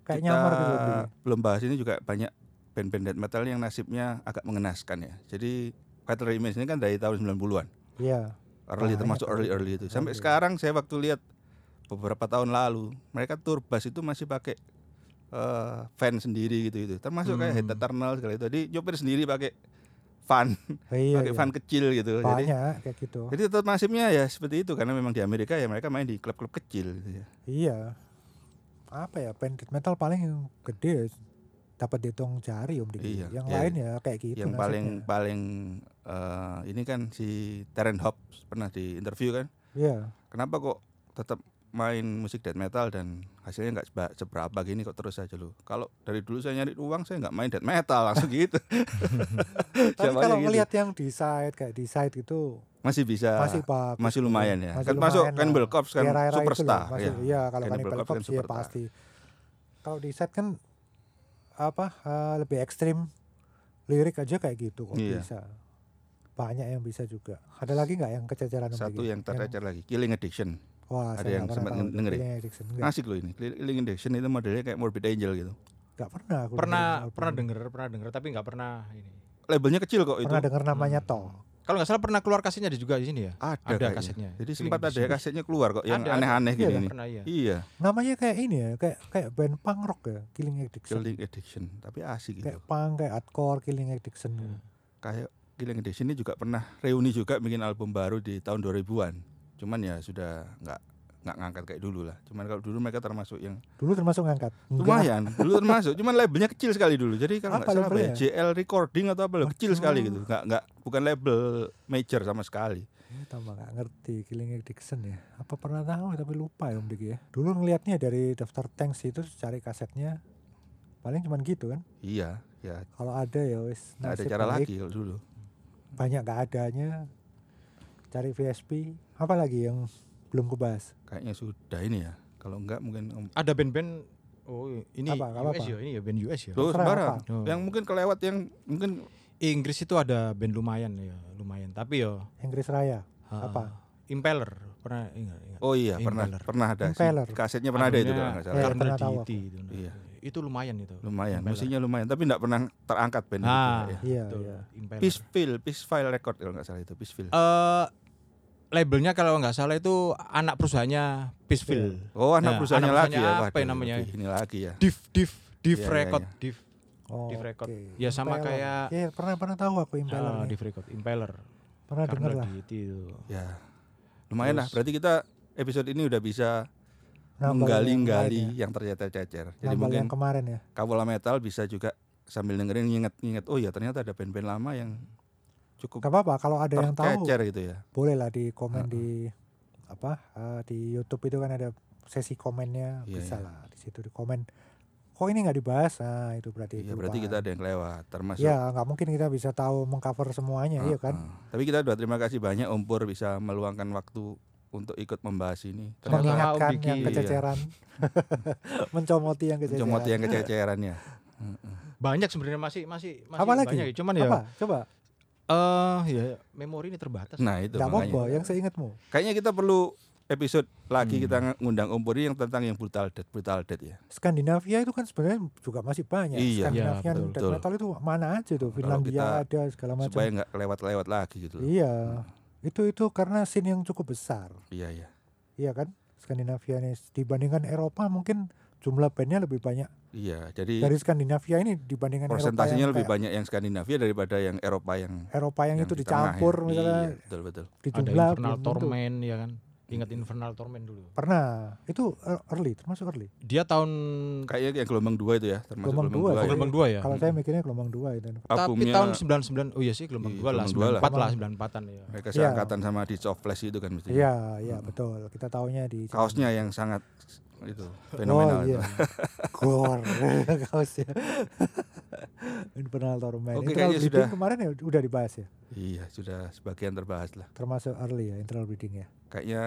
kayak
kita
nyamar gitu loh.
belum bahas ini juga banyak band-band death metal yang nasibnya agak mengenaskan ya. Jadi Vital Remains ini kan dari tahun 90-an.
iya
Early
Banyak
termasuk
tuh.
early early itu. Sampai
Early.
sekarang saya waktu lihat beberapa tahun lalu mereka tour bus itu masih pakai eh, van sendiri gitu gitu. Termasuk kayak
Hmm.
Head Eternal segala itu. Jadi nyopir sendiri pakai van,
iya,
pakai
iya.
van kecil gitu. Jadi
banyak kayak gitu
jadi tetap nasibnya ya seperti itu karena memang di Amerika ya mereka main di klub-klub kecil gitu ya.
iya apa ya band death metal paling yang gede ya, dapat dihitung jari om Diki
Iya,
yang
iya,
lain ya kayak gitu
yang paling
nasibnya.
paling eh, ini kan si Terence Hobbs pernah di interview kan
iya
[laughs] kenapa kok tetap main musik death metal dan hasilnya nggak seba- seberapa gini kok terus aja lo kalau dari dulu saya nyari uang saya nggak main death metal langsung gitu
[laughs] tapi
Jawabannya
kalau
gitu.
ngelihat yang decide kayak decide gitu
masih bisa
masih bagus
masih
tuh.
lumayan ya.
Masih
Kan masuk
lumayan lah.
Cannibal Corpse kan
Di era-era Iya, itu loh,
superstar,
masih-
ya.
iya kalau
Cannibal
Cannibal
Corpse kan
Corpse ya
superstar.
pasti kalau di set kan apa eh, lebih ekstrim lirik aja kayak gitu kok
Iya.
bisa banyak yang bisa juga ada lagi nggak yang kececeran Om
satu
Diki?
yang
Iya.
tercecer lagi Killing Addiction
wah
ada
saya
yang
nggak pernah
sempat Nah,
tahu tuh,
dengerin?
Billie Addiction. nggak,
asik loh ini Killing Addiction itu modelnya kayak Morbid Angel gitu
nggak pernah aku dengerin
Pernah
album
pernah
ini.
denger, pernah denger tapi nggak pernah ini.
labelnya kecil kok itu
pernah denger namanya
Hmm.
toh
Kalau nggak salah pernah keluar kasetnya ada juga di sini ya?
ada,
Ada
kayaknya.
kasetnya.
jadi
Killing
sempat ada
Addiction.
kasetnya keluar kok yang
Ada, ada.
aneh-aneh
Iya,
gini
kan?
nih.
Pernah iya.
iya
namanya kayak ini ya kayak kayak band punk rock ya Killing Addiction
Killing Addiction tapi asik gitu
kayak punk kayak hardcore Killing Addiction
Hmm.
kayak Killing Addiction ini juga pernah reuni juga bikin album baru di tahun 2000-an cuman ya sudah nggak nggak ngangkat kayak dulu lah cuman kalau dulu mereka termasuk yang
dulu termasuk ngangkat Nggak.
lumayan dulu termasuk cuman labelnya kecil sekali dulu jadi kalau nggak
Apa
salah apa ya,
labelnya? Oh.
JL Recording atau apa loh kecil
Aduh.
sekali gitu nggak nggak bukan label major sama sekali
Ini Eh, tambah nggak ngerti Killing Addiction ya. Apa pernah tahu tapi lupa ya Om Diki ya. Dulu ngelihatnya dari daftar Tanks itu cari kasetnya paling cuman gitu kan.
iya ya
Kalau ada ya wis
nggak ada
nasib
cara
baik.
lagi kalau dulu
Banyak nggak adanya. Cari VSP. Apa lagi yang belum kubahas?
kayaknya sudah ini ya kalau enggak mungkin om
Ada band-band oh ini
Apa, nggak
US
apa-apa.
ya, ini ya band US ya.
Loh,
Terserah
sembarang.
apa?
Oh.
yang mungkin kelewat yang mungkin
Inggris itu ada band lumayan ya, lumayan. Tapi ya
Inggris Raya.
ah,
Apa?
Impeller pernah ingat ingat.
oh iya
Impeller.
pernah pernah ada sih.
Impeller.
kasetnya pernah ada itu
Albumnya
kalau nggak salah
Iya,
Carpenter
pernah tahu
Deity itu.
Iya.
Itu lumayan itu.
lumayan
Impeller.
musiknya lumayan tapi enggak pernah terangkat band itu
Nah,
ya.
Iya,
betul,
iya.
Impeller.
Peace Pill, Peace File Record kalau nggak salah itu Peaceful.
Eh, labelnya kalau nggak salah itu anak perusahaannya Peaceville.
Iya.
Oh anak
Nah,
perusahaannya
anak
lagi ya,
perusahaannya apa
Waduh,
yang namanya?
lebih ini lagi ya.
Div Div Div
Iya, iya,
Record
iya.
Div
Oh,
Div Record.
oke.
Ya, sama
Impeller.
kayak-
Iya, pernah pernah tahu aku Impeller.
Ah,
nih.
Div Record Impeller.
Pernah denger
Carpenter
lah.
Deity itu.
Ya lumayan lah.
Terus-
Berarti kita episode ini udah bisa
Nambal yang lain
menggali-gali
ya.
yang tercecer-cecer. Jadi
Nambal
mungkin
yang kemarin ya.
Kawola Metal bisa juga sambil dengerin nginget-nginget. Oh ya ternyata ada band-band lama yang cukup
Gak apa-apa kalau ada yang tahu
tercecer gitu ya.
boleh lah di komen di apa eh, di YouTube itu kan ada sesi komennya
Iya,
bisa
iya.
lah di situ di komen kok ini nggak dibahas nah itu berarti
Ya berarti kita
kelupaan.
ada yang kelewat termasuk.
ya nggak mungkin kita bisa tahu mengcover semuanya iya kan
Heeh. Tapi kita udah terima kasih banyak Om Pur bisa meluangkan waktu untuk ikut membahas ini.
Ternyata Mengingat-
mengingatkan
Om Diki,
yang
iya.
kececeran [laughs] mencomoti yang kececeran
mencomot yang ya. kececerannya.
Banyak sebenarnya masih masih masih
Apa lagi?
banyak. ya. Cuman ya
apa coba
eh ya memori ini terbatas.
Nah itu
tidak
makanya.
apa yang seingatmu
Kayaknya kita perlu episode lagi
Hmm.
kita ngundang Om Puri yang tentang yang brutal death, brutal death ya.
Skandinavia itu kan sebenarnya juga masih banyak
Iya.
Skandinavia
Iya, betul,
death
betul.
metal itu mana aja tuh Finlandia
kita-
ada segala macam
Supaya Hmm. nggak lewat-lewat lagi gitu loh.
iya itu itu karena scene yang cukup besar
Iya iya.
iya kan Skandinavia ini dibandingkan Eropa mungkin jumlah bandnya lebih banyak
Iya, jadi
dari Skandinavia ini dibandingkan Eropa
persentasenya
yang
lebih
kayak-
banyak yang Skandinavia daripada yang Eropa yang
Eropa yang, itu
di tengah
dicampur
ya.
misalnya
Iya, betul betul.
di
Ada
jumlah
Infernal
belum tentu.
Torment ya kan. Ingat Infernal Torment dulu.
pernah itu er- early termasuk early
Dia tahun
Kayaknya yang gelombang dua itu ya, termasuk
Gelombang
gelombang,
dua,
dua.
Kalau-
gelombang 2 ya.
kalau
Hmm.
saya mikirnya gelombang dua
Iya.
itu
Tapi
Albumnya
tahun 99 oh iya sih gelombang
Iya,
2 lah,
gelombang dua lah.
94 lah, 94-an ya.
mereka
Iya.
seangkatan sama di Soft Flash itu kan mestinya.
iya iya betul kita taunya di
Kaosnya yang sangat itu
oh,
fenomenal
iya.
itu. [laughs]
Gor [laughs] kaosnya. Infernal Torment.
Oke,
Internal
kayaknya
bleeding
sudah.
kemarin ya udah dibahas ya.
Iya, sudah sebagian terbahas lah.
Termasuk early ya internal bleeding ya.
Kayaknya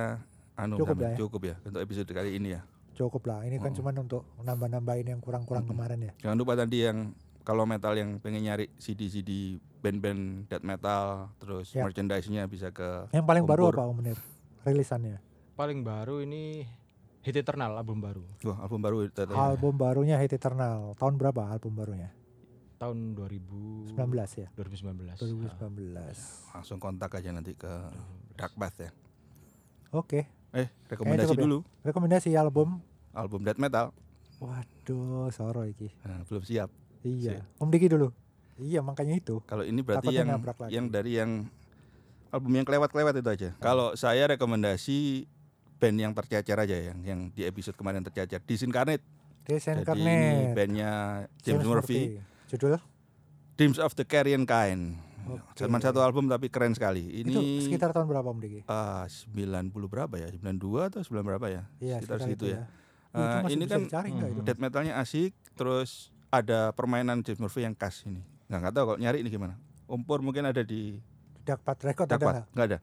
anu
Cukup
Hamid,
lah ya.
cukup ya untuk episode kali ini ya.
Cukup lah. Ini kan
Mm-mm.
cuman untuk nambah-nambahin yang
Hmm.
kurang-kurang kemarin ya.
Jangan lupa tadi yang kalau metal yang pengen nyari CD-CD band-band death metal, terus
Ya.
merchandise-nya bisa ke
Yang paling baru
Kompor.
apa Om Munir?
Ya.
Rilisannya.
Paling baru ini Hit Eternal album baru
Wah, album baru Death Metal.
Album barunya Hate Eternal. Tahun berapa album barunya?
tahun 2000
19 ya.
2019.
2019.
Ah.
langsung kontak aja nanti ke Dark Bath ya.
Oke,
Eh, rekomendasi
cukup ya.
dulu
rekomendasi album.
album death metal.
Waduh, soro iki.
Nah, belum siap.
Iya. Om Diki dulu. Iya, makanya itu.
Kalau ini berarti
Takutnya
yang
nabrak lagi.
yang dari yang album yang kelewat-kelewat itu aja. Kalau saya rekomendasi band yang tercecer aja yang yang di episode kemarin tercecer Disincarnate.
Desain
Jadi ini bandnya James, Murphy.
Judul
Dreams of the Carrion Kind.
Oke.
Cuman Iya, satu album tapi keren sekali. Ini
itu sekitar tahun berapa Om Diki?
ah, 90 berapa ya? 92 atau 90 berapa ya?
Iya,
sekitar
sekitar itu
situ ya.
Wih, itu
Eh,
masih
ini
bisa
kan
dicari nggak itu?
death metalnya asik, terus ada permainan James Murphy yang khas ini. Nggak, nggak tahu kalau nyari ini gimana. Umpur mungkin ada di
Dark Path Record ada
Dakpat,
nggak?
nggak ada.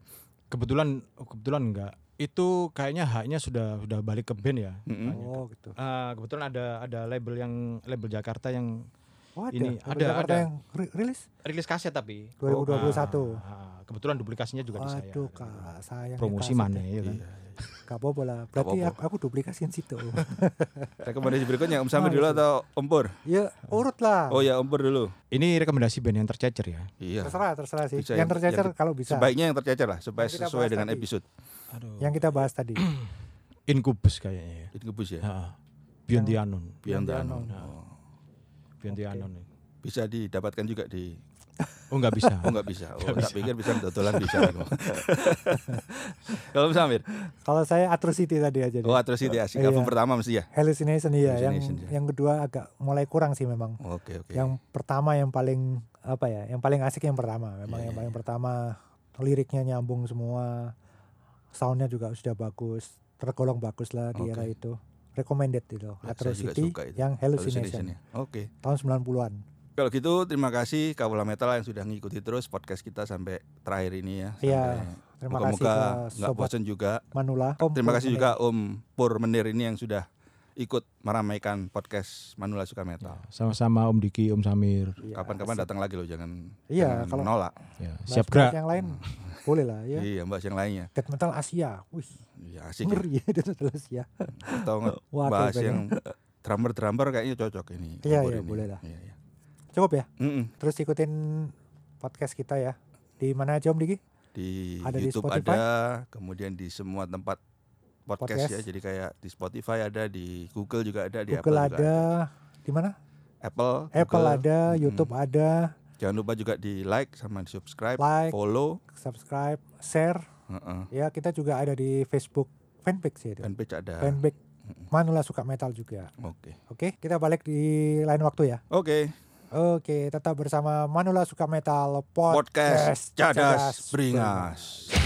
Kebetulan oh, kebetulan enggak. Itu kayaknya haknya sudah sudah balik ke band ya.
Mm-mm.
Haknya.
Oh gitu.
Eh, kebetulan ada ada label yang label Jakarta yang
Oh ada.
Ini
Label
ada,
Jakarta
ada.
yang ri- rilis
rilis kaset tapi
2021.
Ah, ah, kebetulan duplikasinya juga di saya.
Waduh kak, sayang.
Promosi mana ya kan.
Iya.
Gak apa-apa lah. Berarti
apa-apa.
aku, aku duplikasiin situ. [laughs]
Rekomendasi berikutnya Om Samir
Males
dulu
ya.
atau Umpur?
ya urut lah.
Oh ya Umpur dulu.
Ini rekomendasi band yang tercecer ya.
Iya.
Terserah, terserah sih.
Bisa
yang
yang-
tercecer
yang-
kalau bisa.
Sebaiknya yang tercecer lah supaya
Yang kita
sesuai
bahas
dengan
tadi.
episode.
Aduh.
Yang kita bahas tadi. [clears throat]
Incubus kayaknya ya.
Itu ngebus ya.
Ah, Beyond the Unknown.
Beyond the
Unknown.
Unknown. Oh.
Beyond the
Oke.
Unknown. ya.
Bisa didapatkan juga di
Oh nggak bisa.
Oh [laughs] nggak bisa. Oh,
Nggak
tak
bisa.
pikir bisa dodolan bisa. Iya. aku. [laughs] Kalau Om Samir,
Kalau saya Atrocity tadi aja deh.
oh terus itu ya,
Iya.
sikap pertama mesti ya.
Hallucination iya. Yang
Hallucination, Iya. ya.
yang kedua agak mulai kurang sih memang.
Oke oke.
Yang pertama yang paling apa ya? Yang paling asik yang pertama. Memang
Iya,
yang
iya,
paling pertama liriknya nyambung semua. Soundnya juga sudah bagus. Tergolong bagus lah di era
Oke. Iya,
itu. Recommended itu.
juga
Atrocity
suka itu.
yang
Hallucination
Hallucination.
ya. Oke.
Tahun 90-an.
Kalau gitu terima kasih Kawula Metal yang sudah ngikuti terus podcast kita sampai terakhir ini ya.
Iya,
Sampai-
Terima kasih
Moga-moga
ke
nggak
sobat
bosan juga.
Manula. Om
Terima
Pur
kasih juga Om Pur Menir ini yang sudah ikut meramaikan podcast Manula Suka Metal.
Sama-sama Om Diki, Om Samir.
Iya,
Kapan-kapan
asik.
datang lagi loh, jangan,
Iya,
jangan
kalau-
menolak.
Ya,
Bahas-
siap
bahas
gerak.
Nah, Yang lain boleh lah ya.
Iya, bahas yang lainnya.
Death metal Asia. Wih,
Iya, asik. ya.
ngeri ya [laughs] Death metal Asia.
Atau nge-
Waduh,
bahas
pengen.
yang eh, drummer-drummer kayaknya cocok ini. Om
Iya,
Pur
iya,
ini.
boleh lah.
Iya, iya.
Cukup ya.
Mm-mm.
Terus ikutin podcast kita ya. Di mana aja Om Diki?
Di
Ada di
YouTube
Spotify?
ada, kemudian di semua tempat
Podcast.
podcast, ya. Jadi kayak di Spotify ada, di Google juga ada, hmm. di
Google
Apple juga
ada. Di mana?
Apple,
Apple
Google.
ada,
Mm-mm.
YouTube ada,
Jangan lupa juga di like sama di subscribe,
like,
follow.
subscribe, share.
Heeh.
Ya kita juga ada di Facebook fanpage ya itu.
Fanpage ada. Hmm.
Fanpage Manula suka metal juga.
Oke.
Oke, kita balik di lain waktu ya.
Oke.
Oke, tetap bersama Manula suka metal
Podcast, Cadas
Beringas.
Beringas.